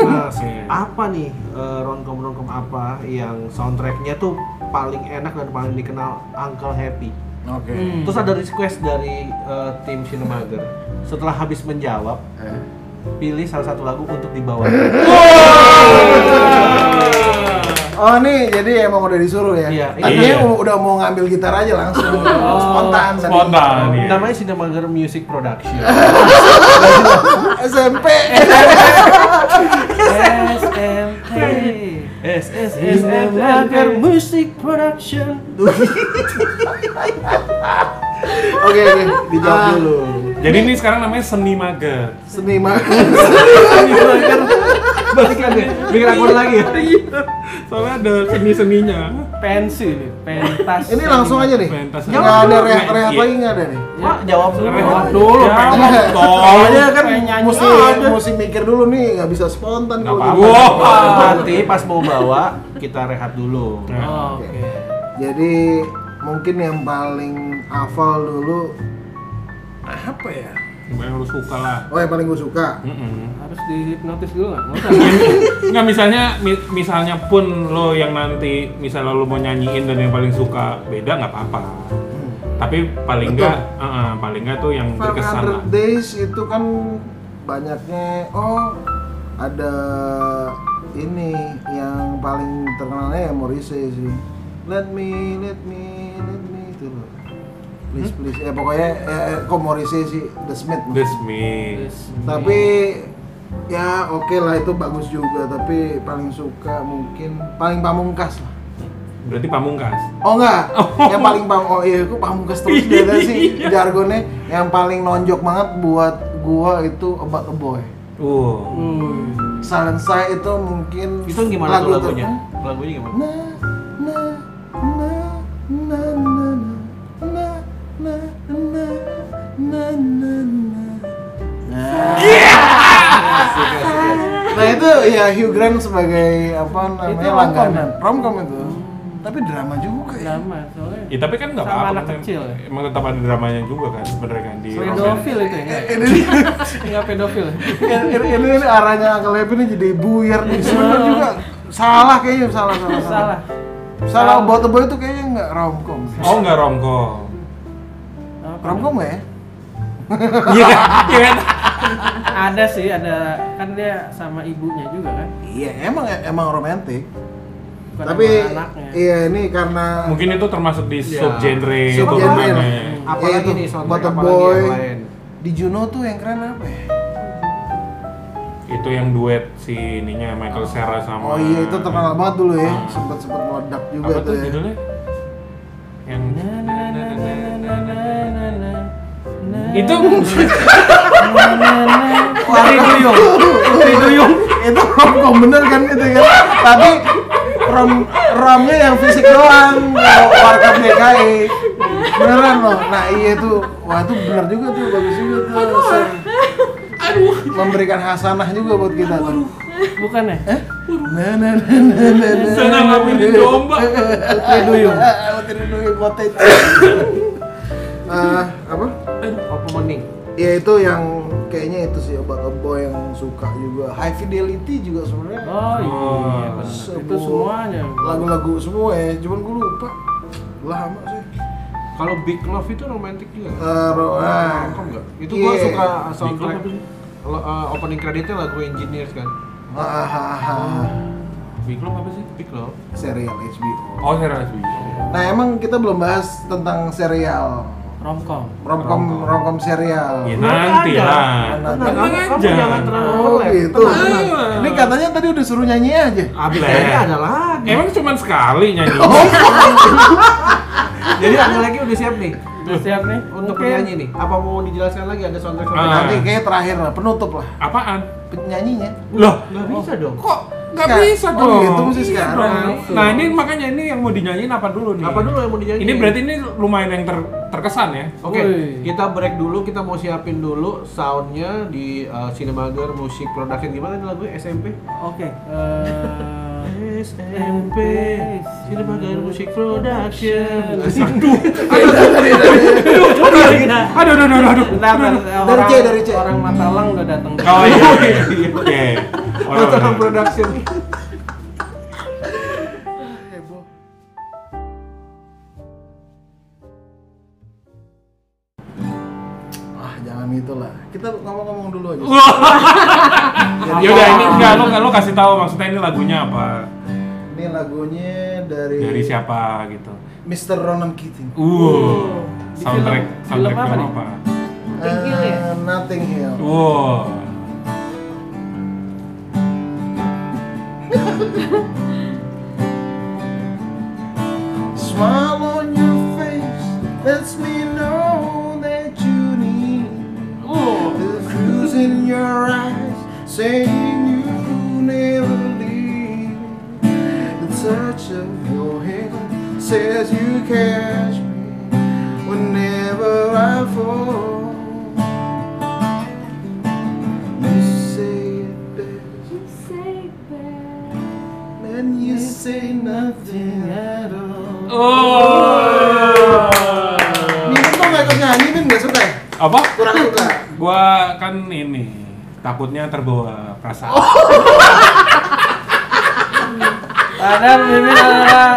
Speaker 2: Nah,
Speaker 1: Iya.
Speaker 2: apa nih eh, romcom-romcom apa yang soundtracknya tuh paling enak dan paling dikenal Uncle Happy?
Speaker 3: Oke
Speaker 5: Hmm.
Speaker 2: Terus ada request dari eh, tim Cinemager. Setelah habis menjawab,
Speaker 3: Eh.
Speaker 2: pilih salah satu lagu untuk dibawa.
Speaker 1: Ah.
Speaker 3: Oh nih, jadi emang udah disuruh ya?
Speaker 2: Iya.
Speaker 3: Artinya
Speaker 1: Iya. Oh.
Speaker 3: udah mau ngambil gitar aja langsung Spontan tadi.
Speaker 1: Spontan ya.
Speaker 2: Namanya Cinemager Music Production.
Speaker 3: SMP
Speaker 5: SMT.
Speaker 2: S S S M
Speaker 5: Cinemaker Music Production.
Speaker 3: Oke, oke, dijawab
Speaker 2: Ah.
Speaker 3: dulu
Speaker 1: Jadi ini sekarang namanya seni mager.
Speaker 3: Seni mah
Speaker 2: Balik lagi, bikin akun lagi. ya?
Speaker 5: Iya.
Speaker 1: Soalnya ada seni-seninya. Nah,
Speaker 5: Pensi nih, pentas.
Speaker 3: Ini langsung aja nih
Speaker 1: Pentas.
Speaker 3: Nggak ada
Speaker 1: Iya.
Speaker 3: rehat-rehat lagi nggak ada nih
Speaker 2: Pak, jawab dulu.
Speaker 1: Jawab
Speaker 5: Ya, dulu,
Speaker 1: Jawab
Speaker 3: Pak.
Speaker 1: dong.
Speaker 3: Soalnya kan
Speaker 5: Pengen nyanyi
Speaker 3: mesti,
Speaker 5: aja.
Speaker 3: mesti mikir dulu nih, nggak bisa spontan
Speaker 1: Nggak
Speaker 3: kalau
Speaker 1: apa-apa.
Speaker 3: gitu.
Speaker 1: Wow.
Speaker 2: Nanti pas mau bawa kita rehat dulu.
Speaker 1: Nah,
Speaker 5: Oh, Oke.
Speaker 3: Jadi mungkin yang paling hafal dulu apa ya?
Speaker 1: yang lu suka lah.
Speaker 3: Oh yang paling gue suka.
Speaker 1: Mm-mm.
Speaker 5: Harus dihipnotis dulu nggak? Nggak usah.
Speaker 1: Nggak misalnya mi- misalnya pun lo yang nanti misalnya lo mau nyanyiin dan yang paling suka beda nggak apa-apa.
Speaker 5: Hmm.
Speaker 1: Tapi paling
Speaker 3: Betul.
Speaker 1: nggak, eh, paling nggak tuh yang berkesan lah.
Speaker 3: 500 Days itu kan banyaknya oh ada ini yang paling terkenalnya ya Morrissey sih. Let me, let me, let me itu loh.
Speaker 1: Hmm?
Speaker 3: Please, please. Ya pokoknya eh, eh, kok Morrissey sih The Smith.
Speaker 1: This me.
Speaker 3: tapi ya oke lah itu bagus juga tapi paling suka mungkin paling pamungkas lah
Speaker 1: Berarti pamungkas.
Speaker 3: oh enggak yang paling pam oh iya aku pamungkas terus dia ada sih jargonnya yang paling nonjok banget buat gua itu about a boy
Speaker 1: Uh.
Speaker 5: Hmm.
Speaker 3: silent Sigh itu mungkin
Speaker 2: Itu gimana tuh
Speaker 3: ter-
Speaker 2: lagunya? Lagunya gimana?
Speaker 3: na na na na na na na na na na na na Nah itu ya Hugh Grant sebagai apa namanya
Speaker 5: Itu romcom,
Speaker 3: langganan
Speaker 5: kan?
Speaker 3: romcom itu. Tapi drama juga ya.
Speaker 5: Drama soalnya.
Speaker 1: Ya tapi kan nggak
Speaker 5: Sama
Speaker 1: apa-apa.
Speaker 5: anak
Speaker 1: kan.
Speaker 5: kecil ya?
Speaker 1: Emang tetap ada dramanya juga kan sebenarnya kan di
Speaker 5: Pedofil itu ya? nggak? Nggak pedofil.
Speaker 3: Ini, ini, ini, ini arahnya Uncle Happy ini jadi buyar nih
Speaker 2: Oh.
Speaker 3: sebenarnya juga salah kayaknya salah salah salah.
Speaker 5: Salah.
Speaker 3: Salah buat boy itu kayaknya nggak romcom.
Speaker 1: Oh nggak romcom.
Speaker 5: Apa?
Speaker 3: Romcom nggak ya?
Speaker 1: Iya kan? Iya kan?
Speaker 5: Ada sih, ada kan dia sama ibunya juga kan?
Speaker 3: Iya emang emang romantis.
Speaker 5: Bukan
Speaker 3: Tapi
Speaker 5: sama anaknya.
Speaker 3: iya ini karena
Speaker 1: Mungkin itu termasuk di
Speaker 2: Iya.
Speaker 1: subgenre itu
Speaker 3: Subgenre lah.
Speaker 1: namanya.
Speaker 2: Apalagi
Speaker 3: Iya, itu.
Speaker 2: nih soundtrack
Speaker 3: Bottom
Speaker 2: apalagi
Speaker 3: Boy.
Speaker 2: yang lain?
Speaker 3: di Juno tuh yang keren apa ya?
Speaker 1: Itu yang duet si ininya Michael Cera sama
Speaker 3: Oh iya itu terkenal banget dulu ya, sempet sempet meledak juga
Speaker 1: Apa tuh
Speaker 3: tuh ya.
Speaker 1: judulnya? Yang
Speaker 5: Na, na, na, na, na, na, na, na, na.
Speaker 1: itu
Speaker 5: Na, na, na.
Speaker 3: Putri Duyung. Putri Duyung. itu romcom bener kan itu kan. Tapi rom romnya yang fisik doang kalau warga DKI. E. Beneran loh. Nah, iya tuh. Wah, itu bener juga tuh bagus juga tuh. Aduh. Memberikan hasanah juga buat kita tuh.
Speaker 5: Bukan ya?
Speaker 3: Nah, nah, nah, nah, nah, nah.
Speaker 1: Sana ngambilin domba.
Speaker 3: Putri Duyung. Putri Duyung kotet. Eh, apa?
Speaker 2: Opening.
Speaker 3: Ya itu yang kayaknya itu sih obat obo yang suka juga. High Fidelity juga sebenarnya.
Speaker 5: Oh iya,
Speaker 1: Oh.
Speaker 5: benar. Itu
Speaker 3: Sebuah
Speaker 5: semuanya.
Speaker 3: lagu-lagu semua ya cuman gue lupa lama sih
Speaker 2: Kalau Big Love itu romantic juga.
Speaker 3: Eh, ro- ah.
Speaker 2: Romcom nggak? Itu gua
Speaker 3: Iya.
Speaker 2: suka
Speaker 1: Big Love
Speaker 2: soundtrack
Speaker 1: apa sih?
Speaker 2: lo- eh, opening creditnya lagu Engineers kan.
Speaker 3: Ah, ah, ah, ah.
Speaker 1: Big Love apa sih?
Speaker 2: Big Love.
Speaker 3: serial HBO
Speaker 1: Oh, Cera sih.
Speaker 3: nah emang kita belum bahas tentang serial
Speaker 5: romcom
Speaker 3: romcom romcom serial
Speaker 5: Iya,
Speaker 1: Ya, nanti
Speaker 4: ada.
Speaker 1: lah.
Speaker 3: Nanti.
Speaker 1: Tenang
Speaker 4: Kamu
Speaker 1: aja.
Speaker 4: jangan terlalu
Speaker 3: Oh
Speaker 4: overlap.
Speaker 3: gitu. Ini katanya tadi udah suruh nyanyi aja.
Speaker 1: Ablet.
Speaker 4: Kayaknya ada lagi.
Speaker 1: ya. Emang cuma sekali nyanyi.
Speaker 3: Oh.
Speaker 4: Jadi ada lagi udah siap nih
Speaker 5: udah siap nih
Speaker 4: untuk
Speaker 5: Mungkin.
Speaker 4: penyanyi nih. Apa mau dijelaskan lagi ada soundtrack soundtrack?
Speaker 1: Ah.
Speaker 3: Nanti kayak terakhir lah, penutup lah
Speaker 1: Apaan?
Speaker 3: penyanyinya.
Speaker 1: Loh,
Speaker 4: Gak bisa dong.
Speaker 1: kok nggak
Speaker 3: Nggak.
Speaker 1: bisa
Speaker 3: Oh,
Speaker 1: dong?
Speaker 3: gitu mesti
Speaker 1: Iya
Speaker 3: sekarang.
Speaker 1: dong. Nah ini makanya ini yang mau dinyanyiin apa dulu nih?
Speaker 4: Apa dulu yang mau dinyanyi?
Speaker 1: Ini berarti ini lumayan yang ter- terkesan ya?
Speaker 4: Oke,
Speaker 5: Wih.
Speaker 4: kita break dulu, kita mau siapin dulu soundnya di uh, Cinemager Music Production gimana nih lagunya SMP?
Speaker 5: oke eh,
Speaker 4: SMP Cinemager Music Production.
Speaker 1: Aduh, aduh, aduh, aduh, aduh.
Speaker 5: bentar, bentar.
Speaker 3: Dari
Speaker 5: orang,
Speaker 3: C, dari C.
Speaker 5: orang Matalang udah datang
Speaker 1: Oh iya, iya, iya. oke. Orang-
Speaker 4: Hotel Production.
Speaker 3: Ah jangan gitulah. Kita ngomong-ngomong dulu aja.
Speaker 1: Yaudah Ya ini enggak, lo, lo kasih tahu maksudnya ini lagunya apa?
Speaker 3: Ini lagunya dari,
Speaker 1: Dari siapa gitu?
Speaker 3: Mr. Ronan Keating.
Speaker 1: Uh, soundtrack,
Speaker 5: Di film-
Speaker 1: soundtrack
Speaker 5: film apa
Speaker 1: film
Speaker 5: nih?
Speaker 1: apa? Uh,
Speaker 3: Eh,
Speaker 6: Hill ya?
Speaker 3: Nothing Hill.
Speaker 1: Wow.
Speaker 3: Smile on your face lets me know that you need me. The cruise in your eyes saying you never leave. The touch of your hand says you catch me whenever I fall. You say it best and you say nothing at all.
Speaker 6: Oh!
Speaker 3: Mimin tuh nggak ikut nyanyi, Mimin nggak suka ya?
Speaker 1: Apa?
Speaker 3: Kurang suka.
Speaker 1: Gua kan ini takutnya terbawa perasaan.
Speaker 5: padahal ini adalah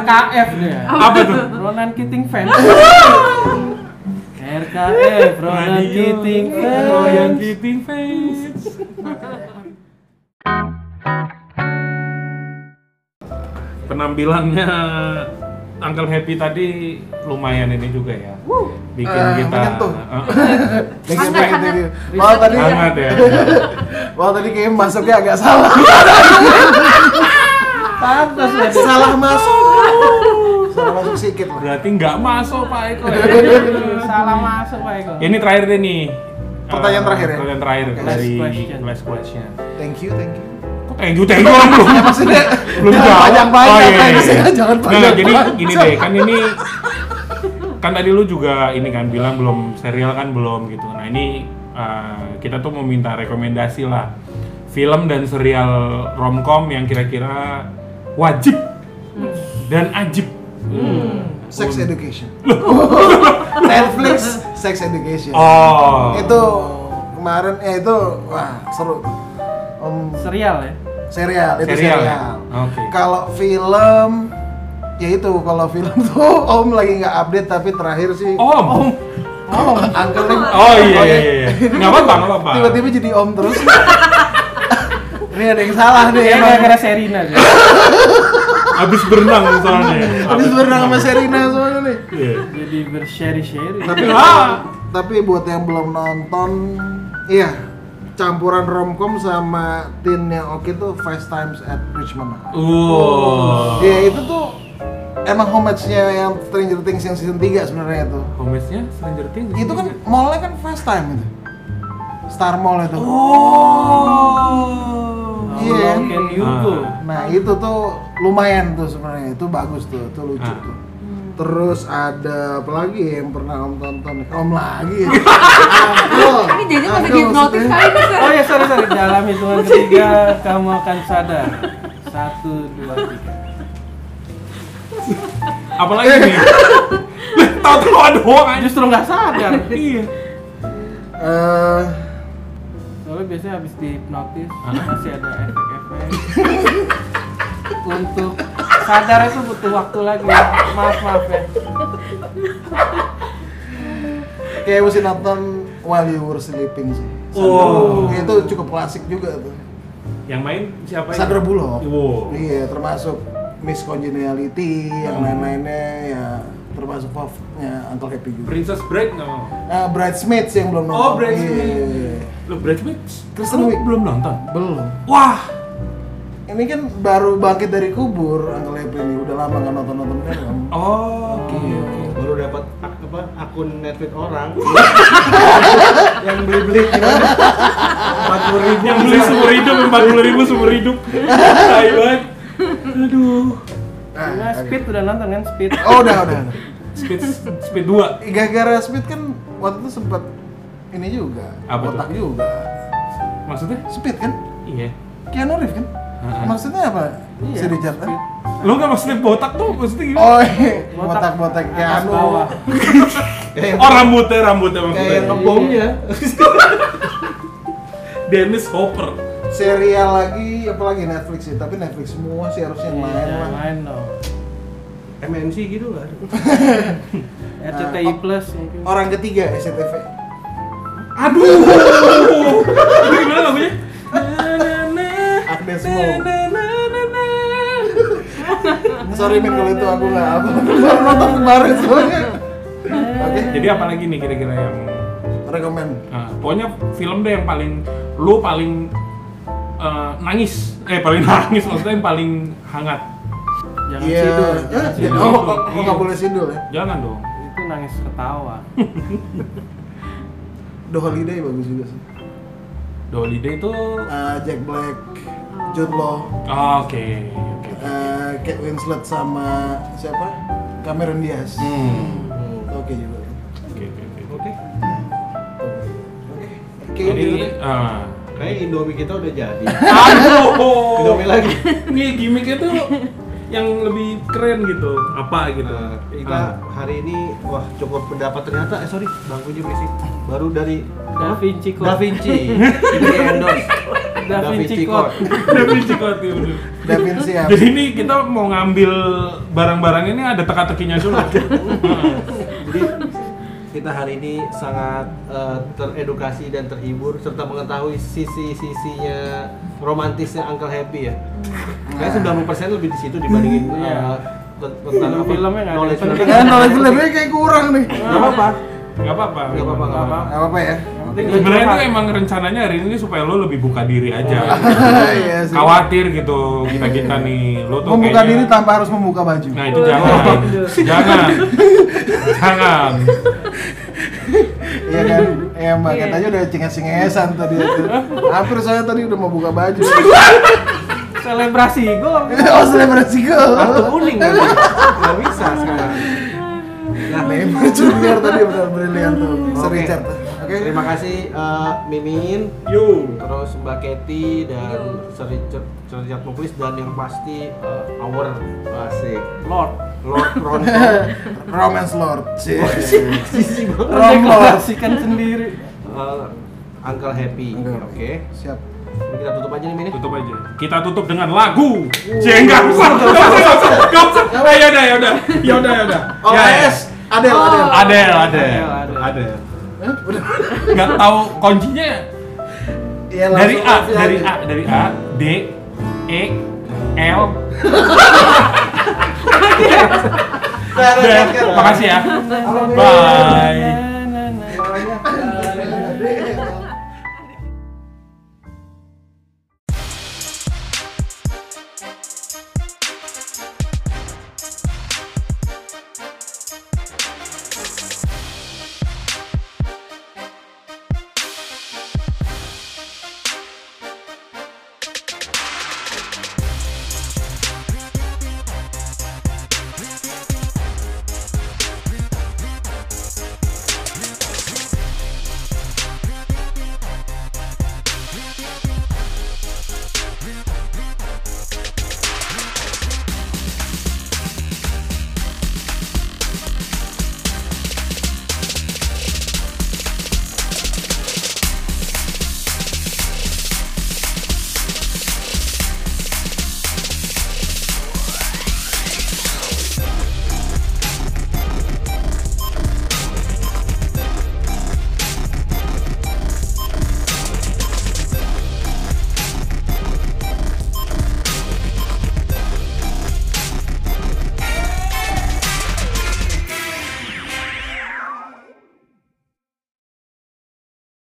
Speaker 5: RKF dia
Speaker 1: Apa tuh?
Speaker 5: Ronan Keating fans RKF E, Ronan Keating
Speaker 1: Ronan
Speaker 5: fans
Speaker 1: Keating fans. Penampilannya Uncle Happy tadi lumayan ini juga ya. Bikin
Speaker 3: Eh,
Speaker 1: kita
Speaker 3: menyentuh.
Speaker 1: Eh,
Speaker 3: Thank you,
Speaker 6: Hangat,
Speaker 3: thank you, thank you. Walau
Speaker 1: eh,
Speaker 3: tadi,
Speaker 1: hangat ya.
Speaker 3: walau tadi kayaknya masuknya agak salah.
Speaker 5: pantas lah
Speaker 3: salah masuk. salah masuk sedikit lah.
Speaker 1: Berarti nggak masuk Pak Eko. ya.
Speaker 5: salah masuk Pak Eko
Speaker 3: Ya.
Speaker 1: Ini terakhir deh nih.
Speaker 3: Pertanyaan
Speaker 1: Eh,
Speaker 3: terakhir ya?
Speaker 1: Pertanyaan terakhir
Speaker 3: Oke.
Speaker 1: dari
Speaker 5: Last question.
Speaker 1: last question.
Speaker 3: Thank you, thank you.
Speaker 1: Kok thank you thank you orang belum?
Speaker 3: Iya, Maksudnya
Speaker 1: belum
Speaker 3: jangan
Speaker 1: jawab.
Speaker 3: panjang-panjang,
Speaker 1: Oh, iya, iya,
Speaker 3: thanks,
Speaker 1: iya.
Speaker 3: ya. jangan
Speaker 1: Nggak,
Speaker 3: panjang.
Speaker 1: jadi gini deh, kan ini kan tadi lu juga ini kan bilang belum serial kan belum gitu. Nah ini uh, kita tuh mau minta rekomendasi lah film dan serial romcom yang kira-kira wajib dan ajib.
Speaker 3: Sex education. Netflix sex education.
Speaker 1: Oh.
Speaker 3: Itu kemarin eh itu wah seru. tuh. Om
Speaker 5: serial ya
Speaker 3: serial itu
Speaker 1: Serial,
Speaker 3: serial,
Speaker 1: ya? Oke.
Speaker 3: kalau film ya itu kalau film tuh om lagi nggak update tapi terakhir sih
Speaker 1: Om.
Speaker 3: om uncle nih
Speaker 1: Oh iya iya iya. Enggak apa-apa, enggak apa-apa.
Speaker 3: tiba-tiba jadi om terus ini ada yang salah
Speaker 1: Iya.
Speaker 3: nih
Speaker 5: Kayaknya
Speaker 3: emang
Speaker 5: gara-gara Serina dia
Speaker 1: Habis berenang soalnya.
Speaker 3: habis berenang sama Serina soalnya nih
Speaker 1: Iya.
Speaker 5: jadi berseri-seri
Speaker 3: tapi tapi buat yang belum nonton iya campuran romcom sama teen yang oke tuh Five Times at Richmond High
Speaker 1: Wow.
Speaker 3: ya itu tuh emang homage-nya yang Stranger Things yang season 3 sebenarnya tuh
Speaker 1: Homage-nya Stranger Things.
Speaker 3: itu kan mallnya kan fast time itu Star Mall itu
Speaker 1: Oh.
Speaker 5: How
Speaker 3: Iya.
Speaker 5: long can you go?
Speaker 3: nah itu tuh lumayan tuh sebenarnya itu bagus tuh itu lucu
Speaker 1: Ah.
Speaker 3: tuh terus ada apa lagi ya yang pernah om tonton om lagi ya
Speaker 1: Oh.
Speaker 4: Ah,
Speaker 6: Ini jadi pada dihipnotis kali ini,
Speaker 3: Ah.
Speaker 6: Sir.
Speaker 5: Oh ya sorry sorry dalam hitungan ketiga kamu akan sadar satu dua tiga
Speaker 1: Apalagi nih? Tahu-tahu ada doang aja.
Speaker 5: justru nggak sadar
Speaker 1: Iya.
Speaker 3: eh
Speaker 5: soalnya biasanya habis dihipnotis masih ada efek-efek untuk sadar itu butuh waktu lagi maaf maaf ya
Speaker 3: kayak mesti nonton While You Were Sleeping sih
Speaker 1: Oh.
Speaker 3: itu cukup klasik juga tuh
Speaker 1: Yang main siapa ini?
Speaker 3: Sandra Bullock
Speaker 1: Wow. Hmm.
Speaker 3: iya termasuk Miss Congeniality yang lain-lainnya ya termasuk favoritnya Uncle Happy juga.
Speaker 1: Princess Bride nggak mau.
Speaker 3: Ah, Bridesmaids yang belum nonton.
Speaker 1: Oh, Bridesmaids.
Speaker 3: Iya, iya, iya.
Speaker 1: Lo Bridesmaid?
Speaker 3: Kristen
Speaker 1: Lu
Speaker 3: Wiig.
Speaker 1: belum nonton.
Speaker 3: Belum.
Speaker 1: Wah,
Speaker 3: Ini kan baru bangkit dari kubur Uncle Happy ini. Udah lama nggak nonton-nonton film.
Speaker 1: oh, oke oke.
Speaker 2: baru dapat ak- apa akun Netflix orang yang beli-beli gimana? 40 ribu
Speaker 1: Yang beli seumur hidup empat puluh ribu seumur hidup. Tai banget. Aduh.
Speaker 3: Nah,
Speaker 5: Nah,
Speaker 3: oke.
Speaker 5: Speed udah nonton kan Speed.
Speaker 3: Oh, udah, udah.
Speaker 1: Speed Speed dua.
Speaker 3: Gara-gara Speed kan waktu itu sempat ini juga,
Speaker 1: Apa tuh?
Speaker 3: otak juga.
Speaker 1: Maksudnya?
Speaker 3: Speed kan?
Speaker 1: Iya.
Speaker 3: Keanu Reeves kan?
Speaker 1: Heeh.
Speaker 3: Maksudnya apa?
Speaker 1: Iya,
Speaker 3: Si Richard kan?
Speaker 1: Lo nggak maksudnya botak tuh maksudnya gimana?
Speaker 3: Oh, iya. botak-botak
Speaker 5: Atas
Speaker 3: Keanu.
Speaker 5: bawah.
Speaker 2: Kayak
Speaker 1: Oh rambutnya rambutnya
Speaker 2: kayak
Speaker 1: maksudnya.
Speaker 2: yang ngebomnya
Speaker 1: Dennis Hopper.
Speaker 3: Serial lagi, apalagi Netflix sih, tapi Netflix semua sih harusnya yang lain
Speaker 5: Iya,
Speaker 3: lah.
Speaker 5: main dong.
Speaker 2: MNC gitu nggak ada
Speaker 5: Nah, RCTI Plus mungkin.
Speaker 3: Orang ketiga SCTV.
Speaker 1: Aduh. Itu gimana lagunya?
Speaker 3: Agnes Mo. Sorry men kalau itu aku nggak apa. Baru nonton kemarin soalnya. Oke,
Speaker 1: Jadi apa lagi nih kira-kira yang
Speaker 3: rekomend.
Speaker 1: Nah, pokoknya film deh yang paling lu paling eh, nangis eh paling nangis maksudnya yang paling hangat
Speaker 5: Jangan
Speaker 3: Iya.
Speaker 5: tidur.
Speaker 3: Eh,
Speaker 5: jangan
Speaker 1: Sidul.
Speaker 3: Oh, kok kok nggak boleh sidul ya?
Speaker 1: jangan dong
Speaker 5: tidur. Itu nangis ketawa.
Speaker 3: The Holiday bagus juga sih.
Speaker 1: Dolly Day itu oke
Speaker 3: Eh, Jack Black, Jude Law,
Speaker 1: ah, oke oke.
Speaker 3: eh, Kate Winslet sama siapa? Cameron Diaz.
Speaker 1: Hmm,
Speaker 3: Oke juga.
Speaker 1: oke oke oke.
Speaker 2: oke
Speaker 3: Oke. Oke.
Speaker 1: jadi eh,
Speaker 2: kayak Indomie kita udah jadi
Speaker 1: aduh
Speaker 2: Indomie lagi
Speaker 1: ini gimmicknya tuh yang lebih keren gitu apa gitu
Speaker 2: Nah, kita
Speaker 1: Ah.
Speaker 2: hari ini wah cukup pendapat ternyata eh sorry bangkunya berisik baru dari
Speaker 5: Da Vinci Code.
Speaker 2: Da Vinci ini endorse
Speaker 5: Da Vinci Code.
Speaker 1: Udah benci banget, ya, bener.
Speaker 3: Da Vinci apa?
Speaker 1: jadi ini kita mau ngambil barang-barang ini ada teka-tekinya dulu
Speaker 2: Jadi kita hari ini sangat eh, teredukasi dan terhibur serta mengetahui sisi-sisinya romantisnya Uncle Happy ya. Kayaknya 90% lebih di situ dibandingin eh,
Speaker 5: Iya.
Speaker 2: ten- tentang apa
Speaker 5: Filmnya nggak ada Iya,
Speaker 2: knowledge
Speaker 5: yang
Speaker 2: knowledge.
Speaker 3: Kan knowledge lebih kayak kurang nih.
Speaker 2: Nggak apa-apa.
Speaker 1: nggak apa-apa
Speaker 2: Nggak apa-apa, nggak apa-apa.
Speaker 3: Gak apa-apa ya.
Speaker 5: Nanti gua
Speaker 1: sebenarnya
Speaker 5: curhat.
Speaker 1: tuh emang rencananya hari ini supaya lo lebih buka diri aja
Speaker 3: Iya sih.
Speaker 1: khawatir gitu kita kita nih lo tuh
Speaker 3: Membuka
Speaker 1: kayaknya-
Speaker 3: diri tanpa harus membuka baju.
Speaker 1: nah itu jangan jangan jangan
Speaker 3: Iya kan? Iya mbak, katanya udah cenges-cengesan tadi itu. Hampir saya tadi udah mau buka baju.
Speaker 5: Selebrasi gol.
Speaker 3: oh selebrasi
Speaker 2: Kartu
Speaker 3: gol.
Speaker 2: kuning kan? Nggak bisa sekarang.
Speaker 3: Nah, Neymar Junior tadi benar brilian tuh. Sir Richard. Oke.
Speaker 2: Terima kasih eh, Mimin,
Speaker 1: yo
Speaker 2: terus Mbak Kety dan Sir Richard, Sir Richard Muklis dan yang pasti eh, our asik
Speaker 5: Lord.
Speaker 2: Lord Ronto Eh,
Speaker 3: Romance Lord. Cie.
Speaker 2: Sisi banget.
Speaker 5: Deklarasikan sendiri.
Speaker 2: Eh, Uncle Happy. Oke.
Speaker 3: Uncle. Siap.
Speaker 2: Ini Kita tutup aja nih Min.
Speaker 1: tutup aja kita tutup dengan lagu Cie, nggak usah nggak usah nggak usah nggak usah Eh, yaudah yaudah yaudah yaudah
Speaker 3: Oh,
Speaker 1: Ya, ya.
Speaker 3: yes. Adel, Adel.
Speaker 1: Adele, Adele,
Speaker 5: Adele,
Speaker 1: Adele. Nggak tahu kuncinya
Speaker 3: Iya, langsung
Speaker 1: dari A,
Speaker 3: Raffi
Speaker 1: dari
Speaker 3: aja.
Speaker 1: A, dari A, D, E, L.
Speaker 3: Nah,
Speaker 1: Dan,
Speaker 3: nah, nah, nah.
Speaker 1: makasih ya.
Speaker 3: Apa bedanya?
Speaker 1: Bye.
Speaker 5: Na, na, na.
Speaker 3: Namanya Adel. ya.